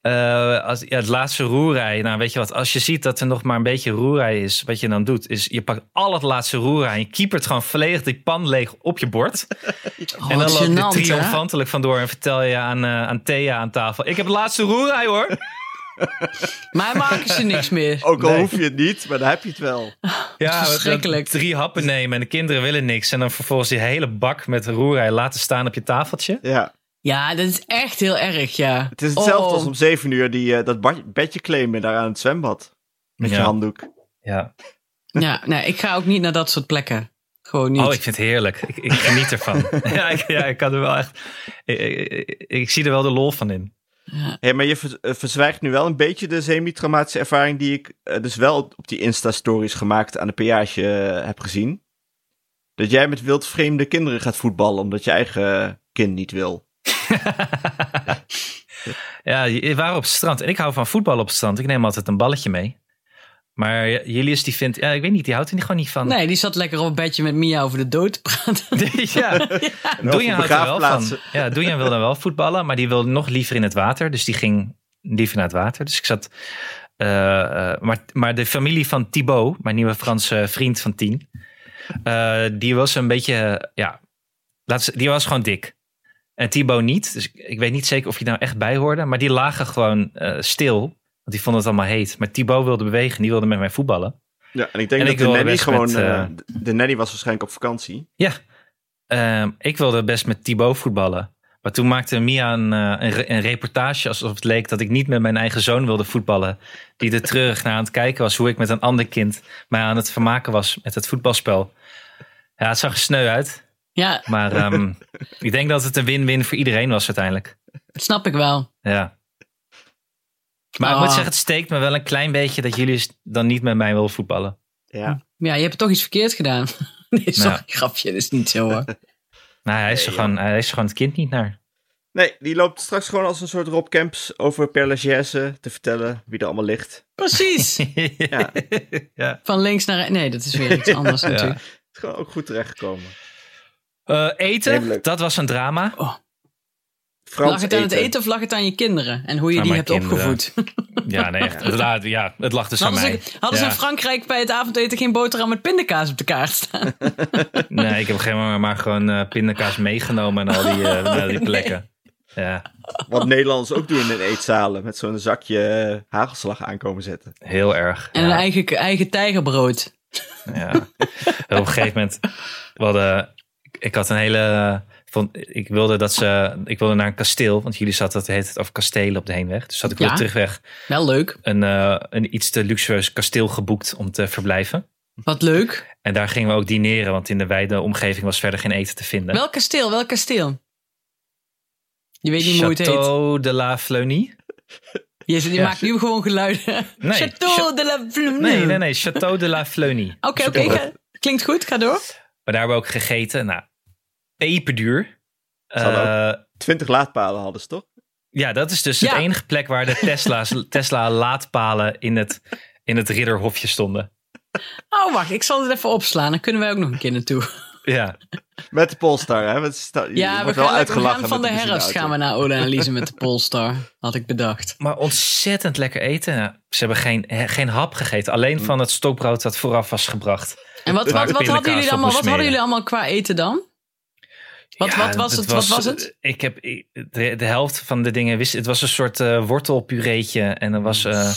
Speaker 3: Eh, als, ja, het laatste roerij. Nou, weet je wat? Als je ziet dat er nog maar een beetje roerij is, wat je dan doet, is je pakt al het laatste roerij en je kiepert gewoon volledig die pan leeg op je bord.
Speaker 2: Oh,
Speaker 3: en dan
Speaker 2: wat
Speaker 3: loop je
Speaker 2: gênant, hè?
Speaker 3: triomfantelijk vandoor en vertel je aan, eh, aan Thea aan tafel: Ik heb het laatste roerij *laughs* hoor.
Speaker 2: Maar maken ze niks
Speaker 3: *laughs*
Speaker 2: meer.
Speaker 4: Ook al
Speaker 3: Nee.
Speaker 4: hoef je het niet, maar dan heb je het wel.
Speaker 3: *laughs* Ja, we-
Speaker 2: verschrikkelijk.
Speaker 3: dat Drie happen nemen en de kinderen willen niks. En dan vervolgens die hele bak met roerij laten staan op je tafeltje.
Speaker 4: Ja.
Speaker 2: Ja, dat is echt heel erg, ja.
Speaker 4: Het is hetzelfde
Speaker 2: Oh.
Speaker 4: als om zeven uur die, eh, dat ba- bedje claimen daar aan het zwembad. Met je
Speaker 3: Ja.
Speaker 4: handdoek.
Speaker 3: Ja.
Speaker 2: Ja, nee, ik ga ook niet naar dat soort plekken. Gewoon niet.
Speaker 3: Oh, ik vind het heerlijk. Ik, ik
Speaker 2: *laughs*
Speaker 3: geniet ervan. ja, ik, ja, ik kan er wel echt. Ik, ik- ik zie er wel de lol van in.
Speaker 4: Hé, maar je ver- eh, verzwijgt nu wel een beetje de semi-traumatische ervaring die ik eh, dus wel op op die Insta-stories gemaakt aan de peage eh, heb gezien. Dat jij met wildvreemde kinderen gaat voetballen omdat je eigen eh, kind niet wil.
Speaker 3: Ja, je waren op het strand. En ik hou van voetbal op het strand. Ik neem altijd een balletje mee. Maar Julius, die vindt. Ja, ik weet niet, die houdt er niet gewoon niet van.
Speaker 2: Nee, die zat lekker op een bedje met Mia over de dood te praten. *laughs*
Speaker 3: *laughs* ja.
Speaker 4: En over
Speaker 3: Doe je houdt er wel van.
Speaker 4: begraafplaatsen.
Speaker 3: Ja, Doejan wilde wel voetballen, maar die wilde nog liever in het water. Dus die ging liever naar het water. Dus ik zat. eh, eh, maar, maar de familie van Thibaut, mijn nieuwe Franse vriend van tien, eh, die was een beetje. eh, ja, laat ze- die was gewoon dik. En Thibaut niet. Dus ik, ik weet niet zeker of die nou echt bij hoorde. Maar die lagen gewoon eh, stil. Want die vonden het allemaal heet. Maar Thibaut wilde bewegen. Die wilde met mij voetballen.
Speaker 4: Ja, en ik denk
Speaker 3: En
Speaker 4: dat
Speaker 3: ik
Speaker 4: de
Speaker 3: wilde
Speaker 4: nanny
Speaker 3: best
Speaker 4: gewoon...
Speaker 3: met,
Speaker 4: eh,
Speaker 3: eh,
Speaker 4: de- de nanny was waarschijnlijk op vakantie.
Speaker 3: Ja, Ehm, ik wilde best met Thibaut voetballen. Maar toen maakte Mia een, eh, een, re- een reportage alsof het leek dat ik niet met mijn eigen zoon wilde voetballen. Die er treurig naar aan het kijken was hoe ik met een ander kind mij aan het vermaken was met het voetbalspel. Ja, het zag er sneu uit.
Speaker 2: Ja,
Speaker 3: Maar ehm, ik denk dat het een win-win voor iedereen was uiteindelijk.
Speaker 2: dat snap ik wel.
Speaker 3: Ja. Maar ik
Speaker 2: Ah.
Speaker 3: moet zeggen, het steekt me wel een klein beetje dat jullie dan niet met mij willen voetballen.
Speaker 4: Ja.
Speaker 2: Ja, je hebt toch iets verkeerd gedaan. *laughs* Nee, sorry,
Speaker 3: Nou Ja.
Speaker 2: grapje, dat is niet zo
Speaker 3: *laughs*
Speaker 2: hoor.
Speaker 3: Nou, hij is, er
Speaker 4: Nee,
Speaker 3: gewoon, hij is er gewoon het kind niet naar.
Speaker 4: Nee, die loopt straks gewoon als een soort Rob Camps over per Lachaise te vertellen wie er allemaal ligt.
Speaker 2: Precies.
Speaker 3: *laughs* ja. ja.
Speaker 2: Van links naar... re- Nee, dat is weer iets
Speaker 3: *laughs*
Speaker 2: anders
Speaker 3: Ja.
Speaker 2: natuurlijk.
Speaker 4: Het is gewoon ook goed terechtgekomen.
Speaker 3: Eh, eten,
Speaker 4: Heerlijk.
Speaker 3: dat was een drama.
Speaker 4: Frans
Speaker 2: lag het aan het eten of lag het aan je kinderen? En hoe je
Speaker 3: Aan
Speaker 2: die
Speaker 3: mijn
Speaker 2: hebt
Speaker 3: kinderen.
Speaker 2: opgevoed.
Speaker 3: Ja, nee, echt. Het, laat- ja, het lag dus
Speaker 2: *laughs*
Speaker 3: aan
Speaker 2: Hadden,
Speaker 3: mij.
Speaker 2: ze, hadden
Speaker 3: ja.
Speaker 2: ze in Frankrijk bij het avondeten geen boterham met pindakaas op de kaart staan?
Speaker 3: Nee, ik heb geen maar, maar gewoon eh, pindakaas meegenomen naar
Speaker 2: *laughs*
Speaker 3: die, eh, naar die plekken. Ja,
Speaker 4: Wat Nederlanders ook doen in eetzalen. Met zo'n zakje eh, hagelslag aankomen zetten.
Speaker 3: heel erg.
Speaker 2: En
Speaker 3: ja.
Speaker 2: een eigen, eigen tijgerbrood.
Speaker 3: Ja. En op een gegeven moment, we hadden, ik had een hele, eh, vond, ik wilde dat ze, ik wilde naar een kasteel, want jullie zaten dat heet het over kastelen op de heenweg. Dus had ik op
Speaker 2: Ja.
Speaker 3: de terugweg
Speaker 2: Wel leuk.
Speaker 3: een, eh, een iets te luxueus kasteel geboekt om te verblijven.
Speaker 2: Wat leuk.
Speaker 3: En daar gingen we ook dineren, want in de wijde omgeving was verder geen eten te vinden.
Speaker 2: Welk kasteel? Welk kasteel? Je weet niet hoe het heet.
Speaker 3: Château de la Fleunie?
Speaker 2: Je, je
Speaker 3: Ja,
Speaker 2: maakt nu gewoon geluiden. *laughs*
Speaker 3: Nee,
Speaker 2: Château
Speaker 3: cha-
Speaker 2: de la Blune.
Speaker 3: Nee, nee, nee, Château de la Fleunie.
Speaker 2: Oké, oké. ga- Klinkt goed. Ga door.
Speaker 3: Maar daar hebben we ook gegeten. Nou, peperduur.
Speaker 4: Zal ook.
Speaker 3: Eh,
Speaker 4: Twintig laadpalen hadden ze toch?
Speaker 3: ja, dat is dus
Speaker 2: Ja.
Speaker 3: de enige plek waar de
Speaker 2: *laughs*
Speaker 3: Tesla's, Tesla laadpalen in het, in het ridderhofje stonden.
Speaker 2: Oh, wacht. Ik zal het even opslaan. Dan kunnen wij ook nog een keer naartoe.
Speaker 3: Ja,
Speaker 4: Met de Polestar, hè? Met sta- je
Speaker 2: Ja, we
Speaker 4: wordt wel
Speaker 2: gaan, we
Speaker 4: uitgelachen
Speaker 2: gaan van de
Speaker 4: met een
Speaker 2: herfst
Speaker 4: benzineauto.
Speaker 2: gaan we naar Ola en Lise
Speaker 3: *laughs*
Speaker 2: met de Polestar. Had ik bedacht.
Speaker 3: maar ontzettend lekker eten. Nou, ze hebben geen, he- geen hap gegeten. Alleen van het stokbrood dat vooraf was gebracht.
Speaker 2: En wat,
Speaker 3: Waar
Speaker 2: wat,
Speaker 3: ik
Speaker 2: wat, hadden,
Speaker 3: pindakaas
Speaker 2: jullie
Speaker 3: op
Speaker 2: allemaal,
Speaker 3: moest
Speaker 2: wat hadden
Speaker 3: smeren.
Speaker 2: jullie allemaal qua eten dan? Wat,
Speaker 3: Ja,
Speaker 2: wat, was
Speaker 3: dat
Speaker 2: het, wat was het?
Speaker 3: Ik heb ik- de, de helft van de dingen wist. Het was een soort eh, wortelpureetje. En er was eh,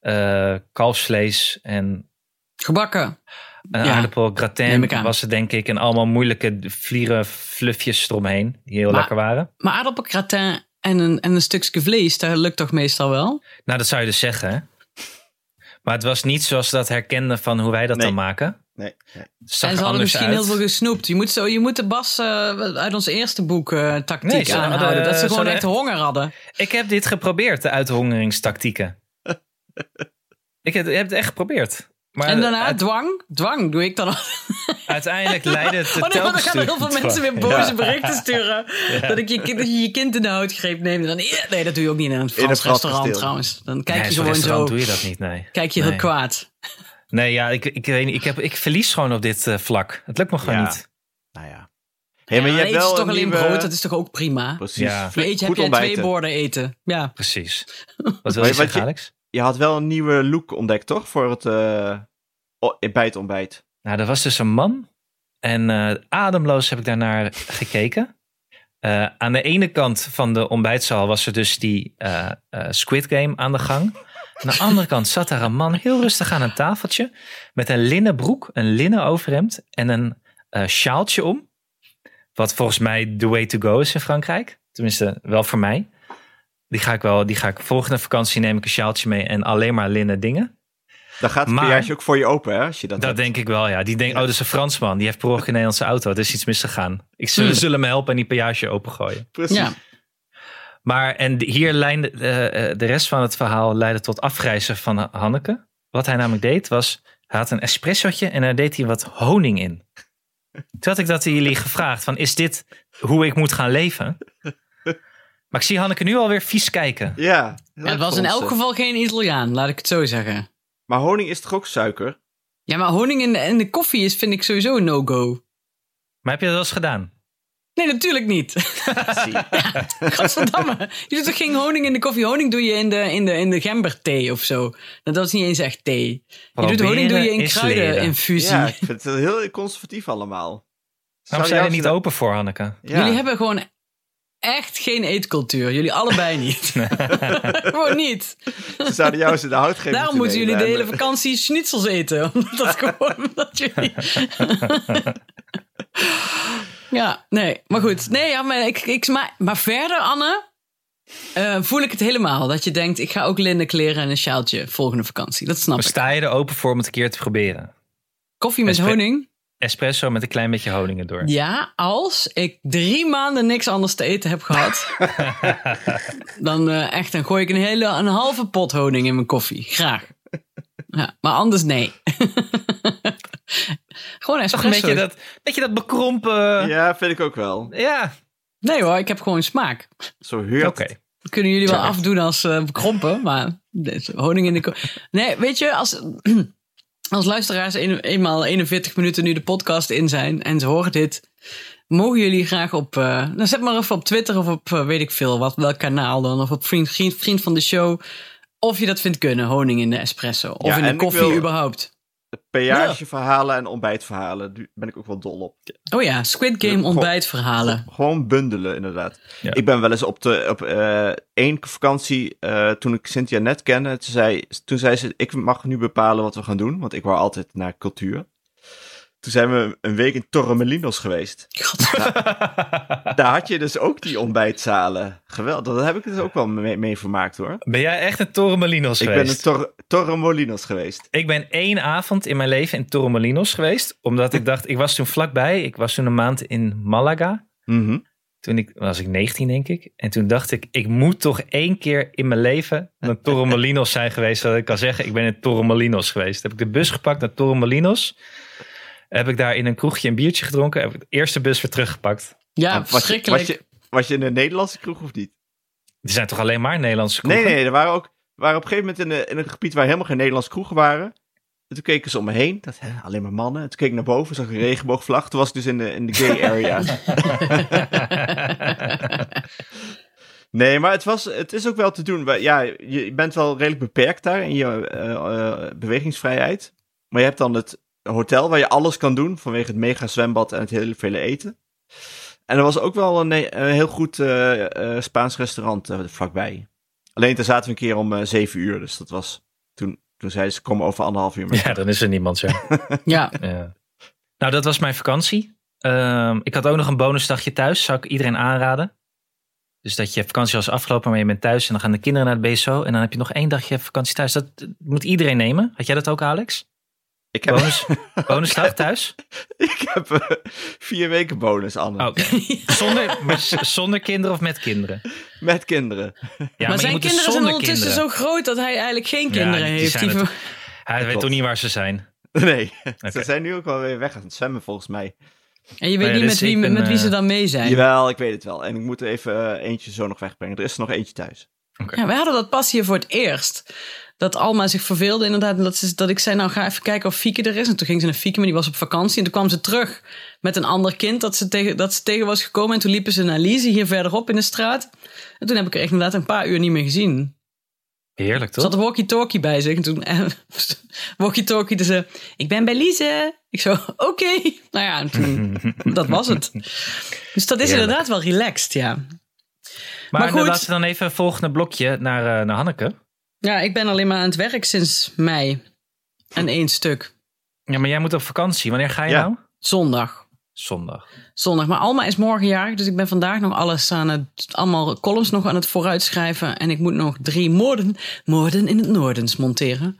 Speaker 3: eh, kalfsvlees en
Speaker 2: Gebakken.
Speaker 3: Een
Speaker 2: Ja.
Speaker 3: aardappel
Speaker 2: Neem ik
Speaker 3: gratin
Speaker 2: aan.
Speaker 3: was het denk ik. En allemaal moeilijke vlieren fluffjes eromheen. Die heel
Speaker 2: Maar-
Speaker 3: lekker waren.
Speaker 2: Maar aardappelgratin en een, en een stukje vlees, dat lukt toch meestal wel?
Speaker 3: Nou, dat zou je dus zeggen. hè? Maar het was niet zoals ze dat herkenden van hoe wij dat
Speaker 4: Nee.
Speaker 3: dan maken.
Speaker 4: Nee, nee.
Speaker 3: Het
Speaker 2: en
Speaker 3: Zag er
Speaker 2: ze hadden
Speaker 3: anders
Speaker 2: misschien
Speaker 3: uit.
Speaker 2: heel veel gesnoept. Je moet, zo, je moet de Bas eh, uit ons eerste boek eh, tactiek
Speaker 3: Nee, ze hadden-
Speaker 2: aanhouden. dat ze
Speaker 3: ze
Speaker 2: gewoon
Speaker 3: hadden
Speaker 2: echt
Speaker 3: echt-
Speaker 2: honger hadden.
Speaker 3: Ik heb dit geprobeerd, de uithongeringstactieken.
Speaker 4: *laughs*
Speaker 3: ik heb, heb het echt geprobeerd. Maar
Speaker 2: en daarna
Speaker 3: uit-
Speaker 2: dwang. Dwang doe ik dan al. *laughs*
Speaker 3: uiteindelijk leidde het
Speaker 2: Oh nee, want dan
Speaker 3: telkens
Speaker 2: gaan er
Speaker 3: toe-
Speaker 2: heel veel mensen weer boze berichten sturen.
Speaker 3: *laughs*
Speaker 2: Dat, ik je, kind- dat je je kind in de houtgreep neemt. En dan, "Ja." nee, dat doe je ook niet in een Frans
Speaker 4: een Frans
Speaker 2: restaurant
Speaker 4: kasteel.
Speaker 2: trouwens. Dan kijk
Speaker 3: Nee,
Speaker 2: je
Speaker 3: zo'n
Speaker 2: gewoon zo.
Speaker 3: restaurant doe je dat niet, nee.
Speaker 2: Kijk je heel
Speaker 3: Nee.
Speaker 2: kwaad.
Speaker 3: Nee, ja, ik, ik, weet niet, ik, heb, ik verlies gewoon op dit eh, vlak. Het lukt me gewoon
Speaker 4: Ja.
Speaker 3: niet.
Speaker 4: Nou ja. Hey, maar
Speaker 2: Ja,
Speaker 4: je
Speaker 2: dan
Speaker 4: hebt
Speaker 2: eet
Speaker 4: wel
Speaker 2: toch
Speaker 4: een
Speaker 2: alleen
Speaker 4: nieuwe...
Speaker 2: brood, dat is toch ook prima?
Speaker 4: Precies.
Speaker 3: Ja.
Speaker 2: Voor eetje heb
Speaker 4: Goed
Speaker 2: je twee
Speaker 4: ontbijten.
Speaker 2: borden eten. Ja. *laughs*
Speaker 3: Precies. Wat wil je
Speaker 4: je wat
Speaker 3: zeggen,
Speaker 4: je-
Speaker 3: Alex?
Speaker 4: Je had wel een nieuwe look ontdekt, toch? Voor het, eh, o- bij het ontbijt.
Speaker 3: Nou, er was dus een man. En eh, ademloos heb ik daarnaar gekeken. Eh, aan de ene kant van de ontbijtzaal was er dus die eh, eh, Squid Game aan de gang. Aan de andere kant zat daar een man heel rustig aan een tafeltje. Met een linnen broek, een linnen overhemd en een eh sjaaltje om. Wat volgens mij the way to go is in Frankrijk. Tenminste, wel voor mij. Die ga ik wel, die ga ik volgende vakantie neem ik een sjaaltje mee en alleen maar linnen dingen.
Speaker 4: Dan gaat het
Speaker 3: Maar-
Speaker 4: verjaarsje ook voor je open, hè? Als je dat,
Speaker 3: Dat
Speaker 4: hebt.
Speaker 3: denk ik wel, ja. Die denkt, oh, dat is een Fransman. Die heeft per ongeluk een Nederlandse auto. Er is iets misgegaan. Ik zullen,
Speaker 2: Hmm.
Speaker 3: zullen me helpen en die peage opengooien.
Speaker 4: Precies.
Speaker 2: ja.
Speaker 3: Maar, en hier leidde eh, eh, de rest van het verhaal leidde tot afgrijzen van Ha- Hanneke. Wat hij namelijk deed, was, hij had een espressotje en daar deed hij wat honing in. Toen had ik dat aan jullie gevraagd, van is dit hoe ik moet gaan leven? Maar ik zie Hanneke nu alweer vies kijken.
Speaker 4: Ja. eh,
Speaker 2: Ja, het was in elk geval geen Italiaan, laat ik het zo zeggen.
Speaker 4: Maar honing is toch
Speaker 2: *laughs*
Speaker 4: ook suiker?
Speaker 2: Ja, maar honing in de, in de koffie is, vind ik sowieso een no-go.
Speaker 3: Maar heb je dat wel eens gedaan?
Speaker 2: Nee, natuurlijk niet. Godverdamme. Je doet toch geen honing in de koffie? Honing doe je in de, in de, in de gemberthee of zo. Nou, dat is niet eens echt thee. Je doet honing doe je in
Speaker 3: is leren.
Speaker 2: kruideninfusie.
Speaker 4: ja, ik vind het heel conservatief allemaal.
Speaker 3: Waarom
Speaker 4: Zou
Speaker 3: sta je er
Speaker 4: jou-
Speaker 3: niet open voor, Hanneke?
Speaker 4: Ja.
Speaker 2: Jullie hebben gewoon echt geen eetcultuur. Jullie allebei niet. *laughs* gewoon niet.
Speaker 4: Ze zouden jou eens in de hout geven.
Speaker 2: *laughs* Daarom moeten jullie de hele vakantie schnitzels eten. *laughs* Omdat dat gewoon, omdat jullie... ja, nee, maar goed. Nee, ja, maar, ik, ik, maar, maar verder, Anne, eh, voel ik het helemaal. Dat je denkt, ik ga ook linnen kleren en een sjaaltje volgende vakantie. Dat snap
Speaker 3: Maar
Speaker 2: ik.
Speaker 3: sta je er open voor om het een keer te proberen?
Speaker 2: Koffie met
Speaker 3: Espe-
Speaker 2: honing?
Speaker 3: espresso met een klein beetje honing erdoor.
Speaker 2: Ja, als ik drie maanden niks anders te eten heb gehad, dan eh, echt, dan gooi ik een hele een halve pot honing in mijn koffie. Graag. Ja, maar anders nee. *laughs* Gewoon
Speaker 3: Toch een
Speaker 2: espresso.
Speaker 3: beetje dat, beetje dat bekrompen. Ja,
Speaker 4: Ja, vind ik ook wel.
Speaker 2: Nee hoor, ik heb gewoon smaak.
Speaker 4: Zo heurt
Speaker 3: oké.
Speaker 4: het.
Speaker 2: Dat kunnen jullie wel
Speaker 3: Sorry.
Speaker 2: afdoen als eh, bekrompen, maar deze honing in de... ko- Nee, weet je, als, *clears throat* als luisteraars een- eenmaal 41 minuten nu de podcast in zijn en ze horen dit, mogen jullie graag op... eh, nou, zet maar even op Twitter of op eh, weet ik veel wat, welk kanaal dan, of op vriend, vriend, vriend van de show, of je dat vindt kunnen, honing in de espresso, of
Speaker 4: Ja,
Speaker 2: in de
Speaker 4: en ik
Speaker 2: koffie
Speaker 4: wil-
Speaker 2: überhaupt.
Speaker 4: Peageverhalen en ontbijtverhalen, daar ben ik ook wel dol op.
Speaker 2: Oh ja, Squid
Speaker 4: Ja,
Speaker 2: Game
Speaker 4: goh.
Speaker 2: ontbijtverhalen.
Speaker 4: Gewoon bundelen, inderdaad.
Speaker 3: Ja.
Speaker 4: Ik ben wel eens op, de, op eh, één vakantie, eh, toen ik Cynthia net kende, toen zei, toen zei ze, ik mag nu bepalen wat we gaan doen, want ik wou altijd naar cultuur. Toen zijn we een week in Torremolinos geweest.
Speaker 2: God,
Speaker 4: Daar had je dus ook die ontbijtzalen. Geweldig, daar heb ik dus ook wel mee, mee vermaakt hoor.
Speaker 3: Ben jij echt een Torremolinos
Speaker 4: Ik
Speaker 3: geweest?
Speaker 4: ben in Tor- Torremolinos geweest.
Speaker 3: Ik ben één avond in mijn leven in Torremolinos geweest. Omdat ik dacht, ik was toen vlakbij. Ik was toen een maand in Malaga.
Speaker 4: Mhm.
Speaker 3: Toen ik, was ik 19, denk ik. En toen dacht ik, ik moet toch één keer in mijn leven naar Torremolinos zijn geweest. Zodat ik kan zeggen, ik ben in Torremolinos geweest. Heb ik de bus gepakt naar Torremolinos. Heb ik daar in een kroegje een biertje gedronken. Heb ik de eerste bus weer teruggepakt.
Speaker 2: ja,
Speaker 4: Maar was, je,
Speaker 2: verschrikkelijk.
Speaker 4: was, je, was je in een Nederlandse kroeg of niet?
Speaker 3: Er zijn toch alleen maar Nederlandse
Speaker 4: Nee,
Speaker 3: kroegen?
Speaker 4: nee, er waren ook er waren op een gegeven moment in een, in een gebied waar helemaal geen Nederlandse kroegen waren. En toen keken ze om me heen, dat, hè, alleen maar mannen. En toen keek ik naar boven, zag ik een regenboogvlag. Toen was ik dus in de, in de gay
Speaker 3: *laughs*
Speaker 4: area. nee, maar het, was, het is ook wel te doen. Wij- Ja, je- je bent wel redelijk beperkt daar in je eh, eh, bewegingsvrijheid. Maar je hebt dan het hotel waar je alles kan doen vanwege het mega zwembad en het hele vele eten. En er was ook wel een, een heel goed eh, eh, Spaans restaurant eh, vlakbij. Alleen daar zaten we een keer om eh, zeven uur. Dus dat was. Toen, toen zeiden ze: kom over
Speaker 3: *laughs*
Speaker 4: anderhalf uur. Maar
Speaker 3: Ja, dan is er niemand, ja.
Speaker 2: Ja,
Speaker 3: Ja. Nou, dat was mijn vakantie. Ehm, ik had ook nog een bonusdagje thuis. Zou ik iedereen aanraden. Dus dat je vakantie was afgelopen, maar je bent thuis. En dan gaan de kinderen naar het BSO. En dan heb je nog één dagje vakantie thuis. Dat eh, moet iedereen nemen. Had jij dat ook, Alex?
Speaker 4: ik heb,
Speaker 3: Bonus, bonusdag thuis?
Speaker 4: ik heb eh, vier weken bonus, Anne.
Speaker 3: Oh, *laughs* oké. zonder, maar s- zonder kinderen of met kinderen? Ja,
Speaker 4: Met kinderen. *laughs*
Speaker 3: maar
Speaker 2: maar
Speaker 3: je
Speaker 2: zijn
Speaker 3: moet
Speaker 2: kinderen
Speaker 3: dus
Speaker 2: zijn
Speaker 3: zonder
Speaker 2: ondertussen
Speaker 3: kinderen.
Speaker 2: zo groot dat hij eigenlijk geen
Speaker 3: Ja,
Speaker 2: kinderen
Speaker 3: die
Speaker 2: heeft.
Speaker 3: zijn
Speaker 2: Die-
Speaker 3: het. Hij weet
Speaker 4: Klopt.
Speaker 3: toch niet waar ze zijn?
Speaker 4: Nee.
Speaker 3: Oké.
Speaker 4: Ze zijn nu ook wel weer weg aan het zwemmen, volgens mij.
Speaker 2: En je weet
Speaker 3: Nee,
Speaker 2: niet
Speaker 3: dus
Speaker 2: met wie,
Speaker 3: ik ben,
Speaker 2: met wie
Speaker 3: eh,
Speaker 2: ze dan mee zijn.
Speaker 4: Jawel, ik weet het wel. En ik moet er even eh, eentje zo nog wegbrengen. Er is er nog eentje thuis.
Speaker 2: Ja, wij hadden dat pas hier voor het eerst. Dat Alma zich verveelde inderdaad. en Dat, ze, dat ik zei, nou ga even kijken of Fieke er is. En toen ging ze naar Fieke, maar die was op vakantie. En toen kwam ze terug met een ander kind dat ze tegen, dat ze tegen was gekomen. En toen liepen ze naar Lise hier verderop in de straat. En toen heb ik er echt inderdaad een paar uur niet meer gezien.
Speaker 3: Heerlijk,
Speaker 2: Ze had
Speaker 3: toch?
Speaker 2: een walkie-talkie bij zich. En toen en, *laughs* walkie-talkie dus, eh, ik ben bij Lize. Ik zo, oké. *laughs* Nou ja, en toen, dat was het. Dus dat is
Speaker 3: Heerlijk.
Speaker 2: inderdaad wel relaxed, ja.
Speaker 3: Maar,
Speaker 2: Maar
Speaker 3: dan
Speaker 2: goed.
Speaker 3: laten we dan even het volgende blokje naar, eh, naar Hanneke.
Speaker 2: Ja, ik ben alleen maar aan het werk sinds mei. En één stuk.
Speaker 3: Ja, maar jij moet op vakantie. Wanneer ga je
Speaker 4: Ja.
Speaker 3: nou?
Speaker 2: Zondag.
Speaker 3: Zondag.
Speaker 2: Zondag. Maar Alma is morgen jarig, dus ik ben vandaag nog alles aan het... Allemaal columns nog aan het vooruitschrijven. En ik moet nog drie moorden, moorden in het noordens monteren.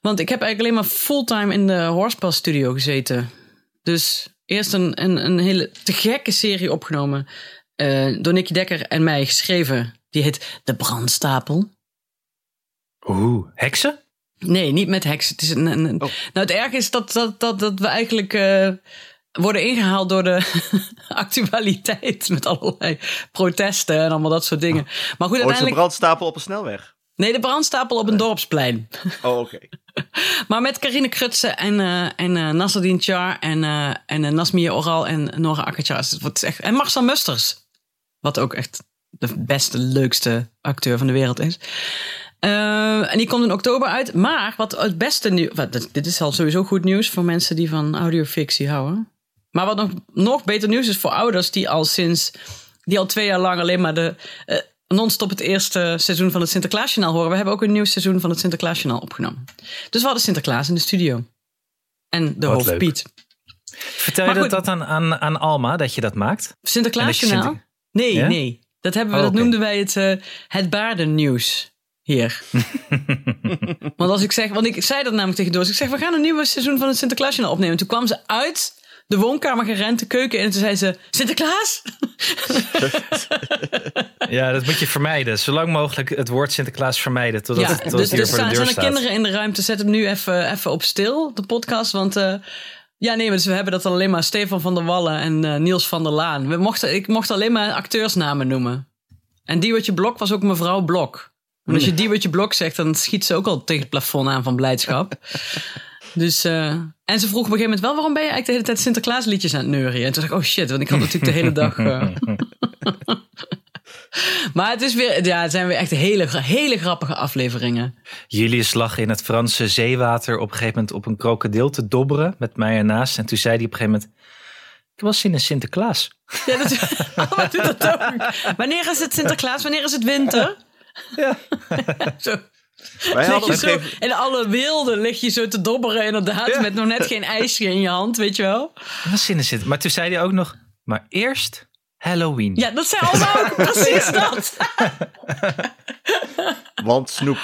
Speaker 2: Want ik heb eigenlijk alleen maar fulltime in de Horsepal studio gezeten. Dus eerst een, een, een hele te gekke serie opgenomen. eh, door Nicky Dekker en mij geschreven. Die heet De Brandstapel.
Speaker 3: Oeh. Heksen?
Speaker 2: Nee, niet met heksen. Het is een, een- een-
Speaker 4: Oh.
Speaker 2: Nou, het erg is dat, dat, dat, dat we eigenlijk eh, worden ingehaald door de *laughs* actualiteit. Met allerlei protesten en allemaal dat soort dingen. Maar goed,
Speaker 4: Oh, het is een
Speaker 2: uiteindelijk.
Speaker 4: brandstapel op een snelweg.
Speaker 2: Nee, de brandstapel op een dorpsplein. *laughs*
Speaker 4: Oh, oké.
Speaker 2: Maar met Carine Krutsen en, eh en eh Nasreddin Char en, eh, en eh, Nasmia Oral en Nora Akkertjaar. Dus het wordt echt- En Marcel Musters. Wat ook echt de beste, leukste acteur van de wereld is. Eh, en die komt in oktober uit. Maar wat het beste nieuws... wat- dit- Dit is al sowieso goed nieuws voor mensen die van audiofictie houden. Maar wat nog, nog beter nieuws is voor ouders die al sinds... die al twee jaar lang alleen maar de... eh, non-stop het eerste seizoen van het Sinterklaasjournaal horen. We hebben ook een nieuw seizoen van het Sinterklaasjournaal opgenomen. Dus we hadden Sinterklaas in de studio. En de
Speaker 3: Wat leuk.
Speaker 2: hoofdpiet.
Speaker 3: Vertel
Speaker 2: Maar
Speaker 3: je dat,
Speaker 2: goed.
Speaker 3: dat aan, aan, aan Alma, dat je dat maakt?
Speaker 2: Sinterklaasjournaal?
Speaker 3: En dat je
Speaker 2: Nee,
Speaker 3: Ja?
Speaker 2: nee. Dat, hebben we,
Speaker 3: Oh,
Speaker 2: dat
Speaker 3: oké.
Speaker 2: noemden wij het, eh het baardennieuws
Speaker 3: *laughs*
Speaker 2: hier. want als ik zeg, want ik zei dat namelijk tegen Doris. Ik zeg, we gaan een nieuw seizoen van het Sinterklaasjournaal opnemen. Toen kwam ze uit de woonkamer gerend, de keuken in. En toen zei ze, Sinterklaas?
Speaker 3: *laughs* Ja, dat moet je vermijden. Zolang mogelijk het woord Sinterklaas vermijden. Totdat het,
Speaker 2: ja,
Speaker 3: tot
Speaker 2: dus,
Speaker 3: het hier
Speaker 2: dus
Speaker 3: voor de
Speaker 2: staan,
Speaker 3: deur
Speaker 2: zijn er
Speaker 3: staat.
Speaker 2: kinderen in de ruimte, zet hem nu even, even op stil, de podcast. Want eh, ja, nee, maar dus we hebben dat alleen maar Stefan van der Wallen en eh, Niels van der Laan. We mochten, ik mocht alleen maar acteursnamen noemen. En Diewertje Blok was ook mevrouw Blok. En
Speaker 3: Hmm.
Speaker 2: als je Diewertje Blok zegt, dan schiet ze ook al tegen het plafond aan van
Speaker 3: *laughs*
Speaker 2: blijdschap. Dus, eh, en ze vroeg op een gegeven moment wel, waarom ben je eigenlijk de hele tijd Sinterklaas liedjes aan het neurien? En toen dacht ik, oh shit, want ik had natuurlijk de hele dag...
Speaker 3: *laughs*
Speaker 2: eh, maar het, is weer, ja, het zijn weer echt hele, hele grappige afleveringen.
Speaker 3: Julius lag in het Franse zeewater op een gegeven moment op een krokodil te dobberen met mij ernaast. En toen zei hij op een gegeven moment, ik was zin in Sinterklaas.
Speaker 2: Ja, dat, *laughs* Alma doet dat ook. Wanneer is het Sinterklaas? Wanneer is het winter?
Speaker 3: Ja.
Speaker 2: Zo.
Speaker 4: Wij
Speaker 2: Lig
Speaker 4: hadden
Speaker 2: je
Speaker 4: op een
Speaker 2: zo,
Speaker 4: gegeven
Speaker 2: in alle wilde lig je zo te dobberen inderdaad.
Speaker 3: Ja.
Speaker 2: Met nog net geen ijsje in je hand, weet je wel.
Speaker 3: Ik was zin in Sinterklaas. Maar toen zei hij ook nog, maar eerst Halloween.
Speaker 2: Ja, dat zijn allemaal ook precies dat.
Speaker 4: Want Snoep.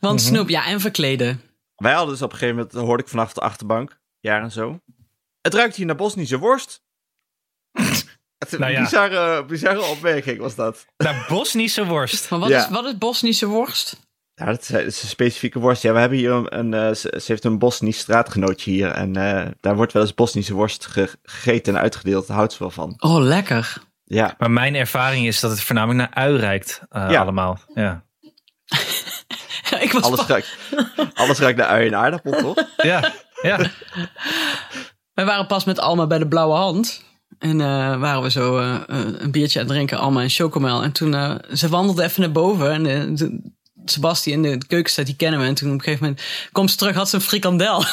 Speaker 2: Want snoep, ja, en verkleden.
Speaker 4: Wij hadden dus op een gegeven moment, dat hoorde ik vanaf de achterbank, jaar en zo. Het ruikt hier naar Bosnische worst. *laughs* Het is
Speaker 3: Nou ja.
Speaker 4: een bizarre, bizarre opmerking was dat.
Speaker 3: Naar Bosnische worst.
Speaker 2: Maar wat,
Speaker 4: Ja.
Speaker 2: is, wat is Bosnische worst?
Speaker 4: Ja, dat is, eh, dat is een specifieke worst. Ja, we hebben hier een, een, eh, ze, ze heeft een Bosnisch straatgenootje hier. En eh, daar wordt wel eens Bosnische worst ge- gegeten en uitgedeeld. Daar houdt ze wel van.
Speaker 2: Oh, lekker. *laughs*
Speaker 4: Ja,
Speaker 3: Maar mijn ervaring is dat het voornamelijk naar ui reikt eh,
Speaker 4: Ja.
Speaker 3: allemaal. Ja.
Speaker 2: Ik was
Speaker 4: alles
Speaker 2: pas-
Speaker 4: ruikt, alles ruikt naar ui en aardappel, toch?
Speaker 3: *laughs* Ja. ja.
Speaker 2: Wij waren pas met Alma bij de Blauwe Hand. En eh, waren we zo eh, eh, een biertje aan het drinken, Alma en Chocomel. En toen, eh, ze wandelde even naar boven. En eh, de- Sebastian in de keuken staat, die kennen we. En toen op een gegeven moment, komt ze terug, had ze een frikandel. *laughs*